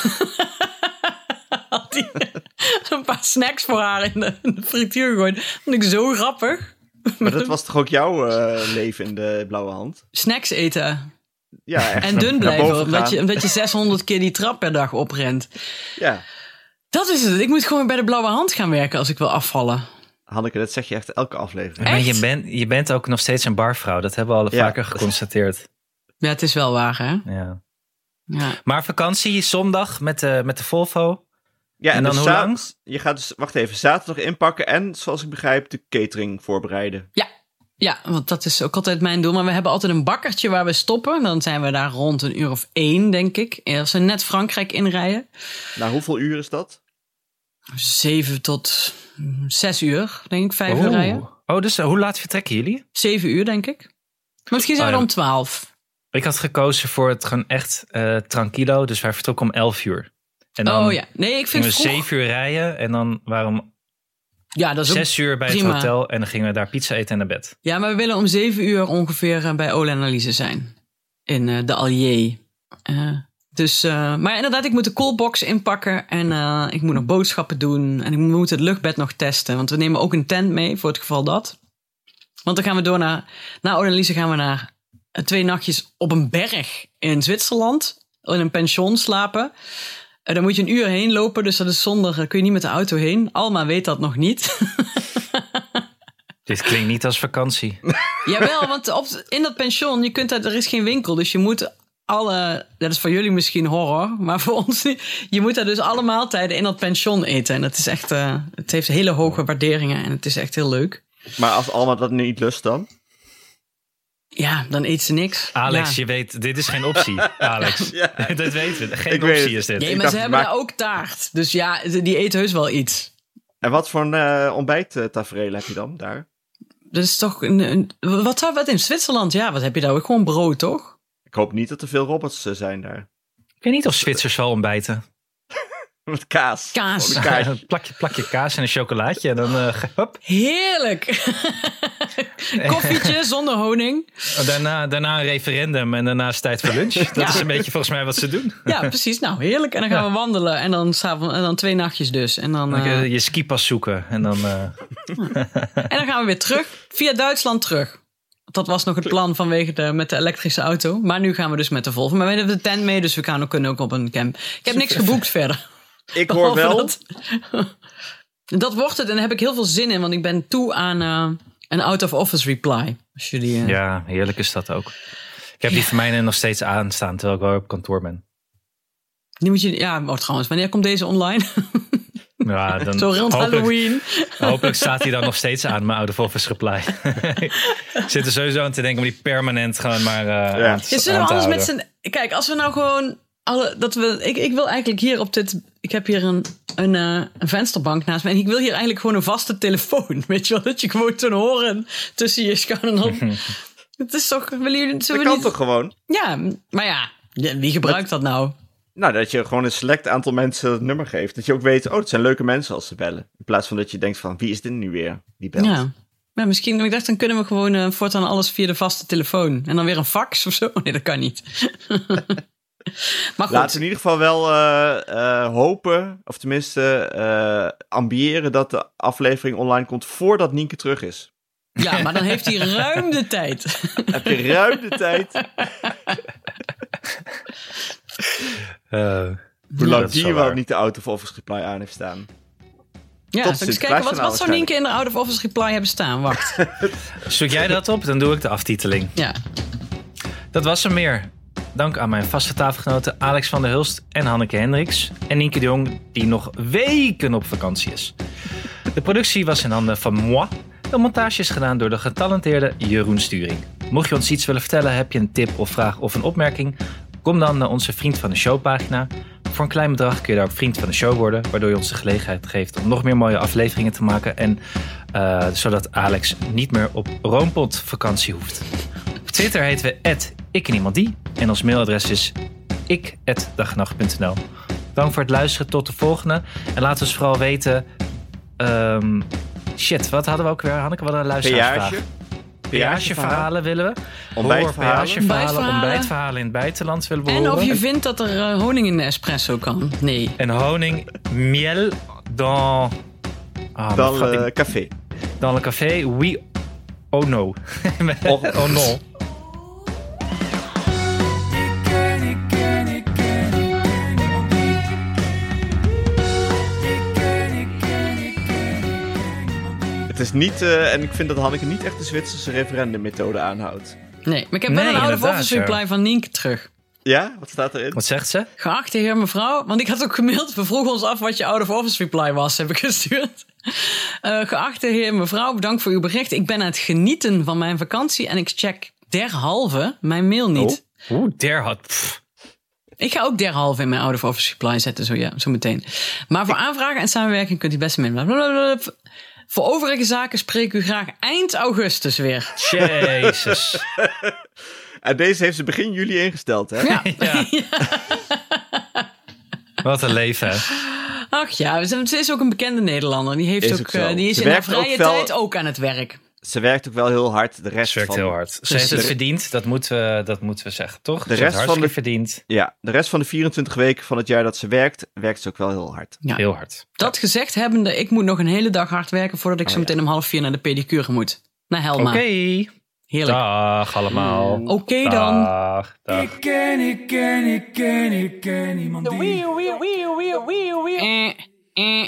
Speaker 2: had die *laughs* een paar snacks voor haar in de, in de frituur gegooid. Vond ik zo grappig.
Speaker 4: Maar dat was toch ook jouw eh, leven in de blauwe hand?
Speaker 2: Snacks eten.
Speaker 4: Ja, echt.
Speaker 2: En dun
Speaker 4: Naar
Speaker 2: blijven,
Speaker 4: boven
Speaker 2: omdat
Speaker 4: gaan.
Speaker 2: je, omdat je 600 keer die trap per dag oprent.
Speaker 4: Ja.
Speaker 2: Dat is het. Ik moet gewoon bij de Blauwe Hand gaan werken als ik wil afvallen.
Speaker 4: Hanneke, dat zeg je echt elke aflevering.
Speaker 3: Maar je
Speaker 2: Echt?
Speaker 3: bent, je bent ook nog steeds een barvrouw. Dat hebben we al
Speaker 4: Ja.
Speaker 3: vaker geconstateerd.
Speaker 2: Ja, het is wel waar, hè?
Speaker 3: Ja.
Speaker 2: Ja.
Speaker 3: Maar vakantie zondag met de, met de Volvo.
Speaker 4: Ja,
Speaker 3: En
Speaker 4: en,
Speaker 3: dan
Speaker 4: dus
Speaker 3: hoe
Speaker 4: za-
Speaker 3: lang?
Speaker 4: Je gaat dus, wacht even, zaterdag inpakken en, zoals ik begrijp, de catering voorbereiden.
Speaker 2: Ja. Ja, want dat is ook altijd mijn doel. Maar we hebben altijd een bakkertje waar we stoppen. Dan zijn we daar rond een uur of één, denk ik. En Als we net Frankrijk inrijden.
Speaker 4: Nou, hoeveel uur is dat?
Speaker 2: Zeven tot mm, zes uur, denk ik. Vijf uur rijden.
Speaker 3: Oh. oh, dus eh, hoe laat vertrekken jullie?
Speaker 2: Zeven uur, denk ik. Maar misschien zijn we
Speaker 3: Oh,
Speaker 2: er
Speaker 3: ja.
Speaker 2: om twaalf.
Speaker 3: Ik had gekozen voor het gewoon echt eh, tranquilo. Dus wij vertrokken om 11 uur. En dan
Speaker 2: Oh ja. Nee, ik vind
Speaker 3: gingen we
Speaker 2: het vroeg.
Speaker 3: 7 uur rijden. En dan waren we om
Speaker 2: Ja, dat is ook-
Speaker 3: 6 uur bij
Speaker 2: prima.
Speaker 3: het hotel. En dan gingen we daar pizza eten en naar bed.
Speaker 2: ja, maar we willen om zeven uur ongeveer eh, bij Ole en Alice zijn. In eh, de Allier. Eh, dus, eh, maar inderdaad, ik moet de koelbox inpakken en eh, ik moet nog boodschappen doen. En ik moet het luchtbed nog testen, want we nemen ook een tent mee voor het geval dat. Want dan gaan we door naar, na Odalise gaan we naar eh, twee nachtjes op een berg in Zwitserland. In een pension slapen. En dan moet je een uur heen lopen, dus dat is zondag. Daar kun je niet met de auto heen. Alma weet dat nog niet. *laughs*
Speaker 3: Dit klinkt niet als
Speaker 2: *laughs*
Speaker 3: vakantie.
Speaker 2: Jawel, want op, in dat pension, je kunt daar, er is geen winkel. Dus je moet alle, dat is voor jullie misschien horror, maar voor ons niet. Je moet daar dus alle maaltijden in dat pension eten. En dat is echt, eh, het heeft hele hoge waarderingen en het is echt heel leuk.
Speaker 4: Maar als Alma dat nu niet lust dan?
Speaker 2: Ja, dan eet ze niks.
Speaker 3: Alex,
Speaker 2: ja.
Speaker 3: je weet, dit is geen
Speaker 4: *laughs*
Speaker 3: optie. Alex,
Speaker 4: Ja.
Speaker 3: *laughs* dat weten we. Geen
Speaker 4: Ik weet
Speaker 3: optie
Speaker 4: het.
Speaker 3: is dit.
Speaker 2: Nee,
Speaker 4: Ik
Speaker 2: maar
Speaker 4: dacht,
Speaker 2: ze hebben
Speaker 4: maak-
Speaker 2: daar ook taart. Dus ja, ze- die eten heus wel iets.
Speaker 4: En wat voor een eh ontbijttafereel heb je dan daar?
Speaker 2: Dat is toch een, een- wat zou wat in Zwitserland? Ja, wat heb je daar ook? Gewoon brood, toch?
Speaker 4: Ik hoop niet dat er veel robots eh, zijn daar.
Speaker 3: Ik weet niet of Zwitsers wel ontbijten.
Speaker 4: Met kaas.
Speaker 2: Kaas.
Speaker 4: Gewoon
Speaker 3: *laughs*
Speaker 4: een kaas.
Speaker 3: Plak je, plak je kaas en een chocolaatje en dan eh, *laughs* ge- hop.
Speaker 2: Heerlijk. *laughs* Koffietje zonder honing.
Speaker 3: Daarna, daarna een referendum en daarna is tijd voor lunch. Dat
Speaker 2: Ja.
Speaker 3: is een beetje volgens mij wat ze doen.
Speaker 2: Ja, precies. Nou, heerlijk. En dan gaan we wandelen. En dan, s'avonds, en dan twee nachtjes dus. En dan,
Speaker 3: Dan kun
Speaker 2: eh,
Speaker 3: je je skipas zoeken en dan... eh,
Speaker 2: en dan gaan we weer terug. Via Duitsland terug. Dat was nog het plan vanwege de, met de elektrische auto. Maar nu gaan we dus met de Volvo. Maar we hebben de tent mee, dus we gaan ook, kunnen ook op een camp. Ik heb niks geboekt verder.
Speaker 4: Ik
Speaker 2: *laughs*
Speaker 4: hoor wel.
Speaker 2: Dat, dat wordt het. En daar heb ik heel veel zin in. Want ik ben toe aan eh, een out-of-office reply. Als jullie, eh,
Speaker 3: ja, heerlijk is dat ook. Ik heb die van mij nog steeds aanstaan terwijl ik wel op kantoor ben.
Speaker 2: Nu moet je, ja, oh, trouwens, wanneer komt deze online? *laughs*
Speaker 3: *laughs* Ja, dan
Speaker 2: Zo rond
Speaker 3: hopelijk,
Speaker 2: Halloween.
Speaker 3: hopelijk staat hij dan nog steeds aan mijn oude Volvers reply. *laughs* Ik zit er sowieso aan te denken om die permanent gewoon maar eh
Speaker 4: Ja.
Speaker 3: aan te,
Speaker 2: Ja, zullen
Speaker 3: aan
Speaker 2: we
Speaker 3: te
Speaker 2: anders met
Speaker 3: houden.
Speaker 2: z'n... Kijk, als we nou gewoon... Alle, dat we, ik, ik wil eigenlijk hier op dit... Ik heb hier een, een, eh, een vensterbank naast me. En ik wil hier eigenlijk gewoon een vaste telefoon. *laughs* Weet je wel? Dat je gewoon te horen tussen je schouder
Speaker 3: *laughs*
Speaker 2: en op. Het is toch... Willen jullie,
Speaker 4: Dat
Speaker 2: zullen we
Speaker 4: kan
Speaker 2: niet-
Speaker 4: toch gewoon?
Speaker 2: Ja, maar ja. ja, Wie gebruikt dat nou?
Speaker 4: Nou, dat je gewoon een select aantal mensen het nummer geeft. Dat je ook weet, oh, het zijn leuke mensen als ze bellen. In plaats van dat je denkt van, wie is dit nu weer? Die belt.
Speaker 2: Ja. Maar misschien, ik dacht, dan kunnen we gewoon eh, voortaan alles via de vaste telefoon. En dan weer een fax of zo. *laughs* Nee, dat kan niet. maar goed,
Speaker 4: Laten we in ieder geval wel eh, eh, hopen, of tenminste eh, ambiëren dat de aflevering online komt voordat Nienke terug
Speaker 3: *laughs*
Speaker 4: is.
Speaker 2: ja, maar dan heeft hij ruim de tijd.
Speaker 4: Heb je ruim de tijd? *laughs*
Speaker 3: Eh,
Speaker 4: Hoe lang
Speaker 3: dat is
Speaker 4: die
Speaker 3: wel
Speaker 4: wel
Speaker 3: waar.
Speaker 4: niet de out of office reply aan heeft staan.
Speaker 2: Ja,
Speaker 4: Tot
Speaker 2: zal ik eens kijken,
Speaker 4: Sinterklaas
Speaker 2: wat,
Speaker 4: dan
Speaker 2: wat zou
Speaker 4: waarschijnlijk.
Speaker 2: Nienke in de Out of Office Reply hebben staan?
Speaker 3: *laughs*
Speaker 2: Wacht,
Speaker 3: zoek jij dat op, dan doe ik de aftiteling.
Speaker 2: ja.
Speaker 3: Dat was hem meer. Dank aan mijn vaste tafelgenoten Alex van der Hulst en Hanneke Hendricks. En Nienke de Jong, die nog weken op vakantie is. De productie was in handen van moi. De montage is gedaan door de getalenteerde Jeroen Sturing. Mocht je ons iets willen vertellen, heb je een tip of vraag of een opmerking? Kom dan naar onze Vriend van de Show pagina. Voor een klein bedrag kun je daar ook Vriend van de Show worden. Waardoor je ons de gelegenheid geeft om nog meer mooie afleveringen te maken. En eh, zodat Alex niet meer op Roompot vakantie hoeft. Op Twitter heten we ik en iemand die. En ons mailadres is ik@dagenacht.nl. Dank voor het luisteren. Tot de volgende. En laat ons vooral weten. ehm, shit, wat hadden we ook weer? Hanneke, we hadden een luisteraarsvraag.
Speaker 4: Peage?
Speaker 3: Peageverhalen willen we.
Speaker 4: Ontbijtverhalen.
Speaker 3: Peageverhalen,
Speaker 2: Ontbijtverhalen.
Speaker 3: ontbijtverhalen in het buitenland willen we
Speaker 2: En of
Speaker 3: horen.
Speaker 2: je vindt dat er eh, honing in de espresso kan? Nee.
Speaker 3: En honing, miel, dans... Ah,
Speaker 4: Dan
Speaker 3: maar
Speaker 4: eh,
Speaker 3: ik-
Speaker 4: café.
Speaker 3: dans le café, oui, oh no.
Speaker 4: Oh.
Speaker 3: *laughs* oh no.
Speaker 4: Het is niet, eh, en ik vind dat Hanneke niet echt de Zwitserse referendummethode aanhoudt.
Speaker 2: Nee, maar ik heb
Speaker 3: Nee,
Speaker 2: wel een Out of
Speaker 3: inderdaad,
Speaker 2: Office
Speaker 3: ja.
Speaker 2: Reply van Nienke terug.
Speaker 4: Ja, wat staat erin?
Speaker 3: Wat zegt ze?
Speaker 2: Geachte heer mevrouw, want ik had ook gemaild. We vroegen ons af wat je out of office reply was, heb ik gestuurd. *laughs* Eh, geachte heer mevrouw, bedankt voor uw bericht. Ik ben aan het genieten van mijn vakantie en ik check derhalve mijn mail niet.
Speaker 3: Oh. Oeh, der had... pff.
Speaker 2: Ik ga ook derhalve in mijn out of office reply zetten, zo, ja, zo meteen. Maar voor aanvragen en samenwerking kunt u best mee. Blablabla. Voor overige zaken spreek u graag eind augustus weer.
Speaker 3: Jezus.
Speaker 4: En deze heeft ze begin juli ingesteld, hè?
Speaker 2: Ja.
Speaker 4: *laughs*
Speaker 3: Ja. *laughs* Wat een leven, hè?
Speaker 2: Ach ja, ze ze is ook een bekende Nederlander. Die, heeft
Speaker 4: Is
Speaker 2: ook,
Speaker 4: ook zo.
Speaker 2: eh, die is
Speaker 4: Ze
Speaker 2: in haar
Speaker 4: werkt ook
Speaker 2: vrije
Speaker 4: wel-
Speaker 2: tijd ook aan het werk.
Speaker 4: Ze werkt ook wel heel hard. De rest
Speaker 3: Ze werkt
Speaker 4: van,
Speaker 3: heel hard. Ze heeft het
Speaker 4: Dus de-
Speaker 3: verdiend, dat moeten we, dat moeten we zeggen, toch?
Speaker 4: De
Speaker 3: Ze heeft
Speaker 4: rest van
Speaker 3: hartstikke
Speaker 4: de-
Speaker 3: verdiend.
Speaker 4: Ja, de rest van de 24 weken van het jaar dat ze werkt, werkt ze ook wel heel hard.
Speaker 2: Ja.
Speaker 3: Heel hard.
Speaker 2: Dat gezegd hebbende, ik moet nog een hele dag hard werken voordat
Speaker 4: Oh
Speaker 2: ik zo meteen om half vier naar de pedicure moet. Naar
Speaker 3: Oké,
Speaker 2: Helma. Heerlijk.
Speaker 3: dag allemaal.
Speaker 2: Oké dan.
Speaker 3: Dag, dag.
Speaker 2: Eh, eh.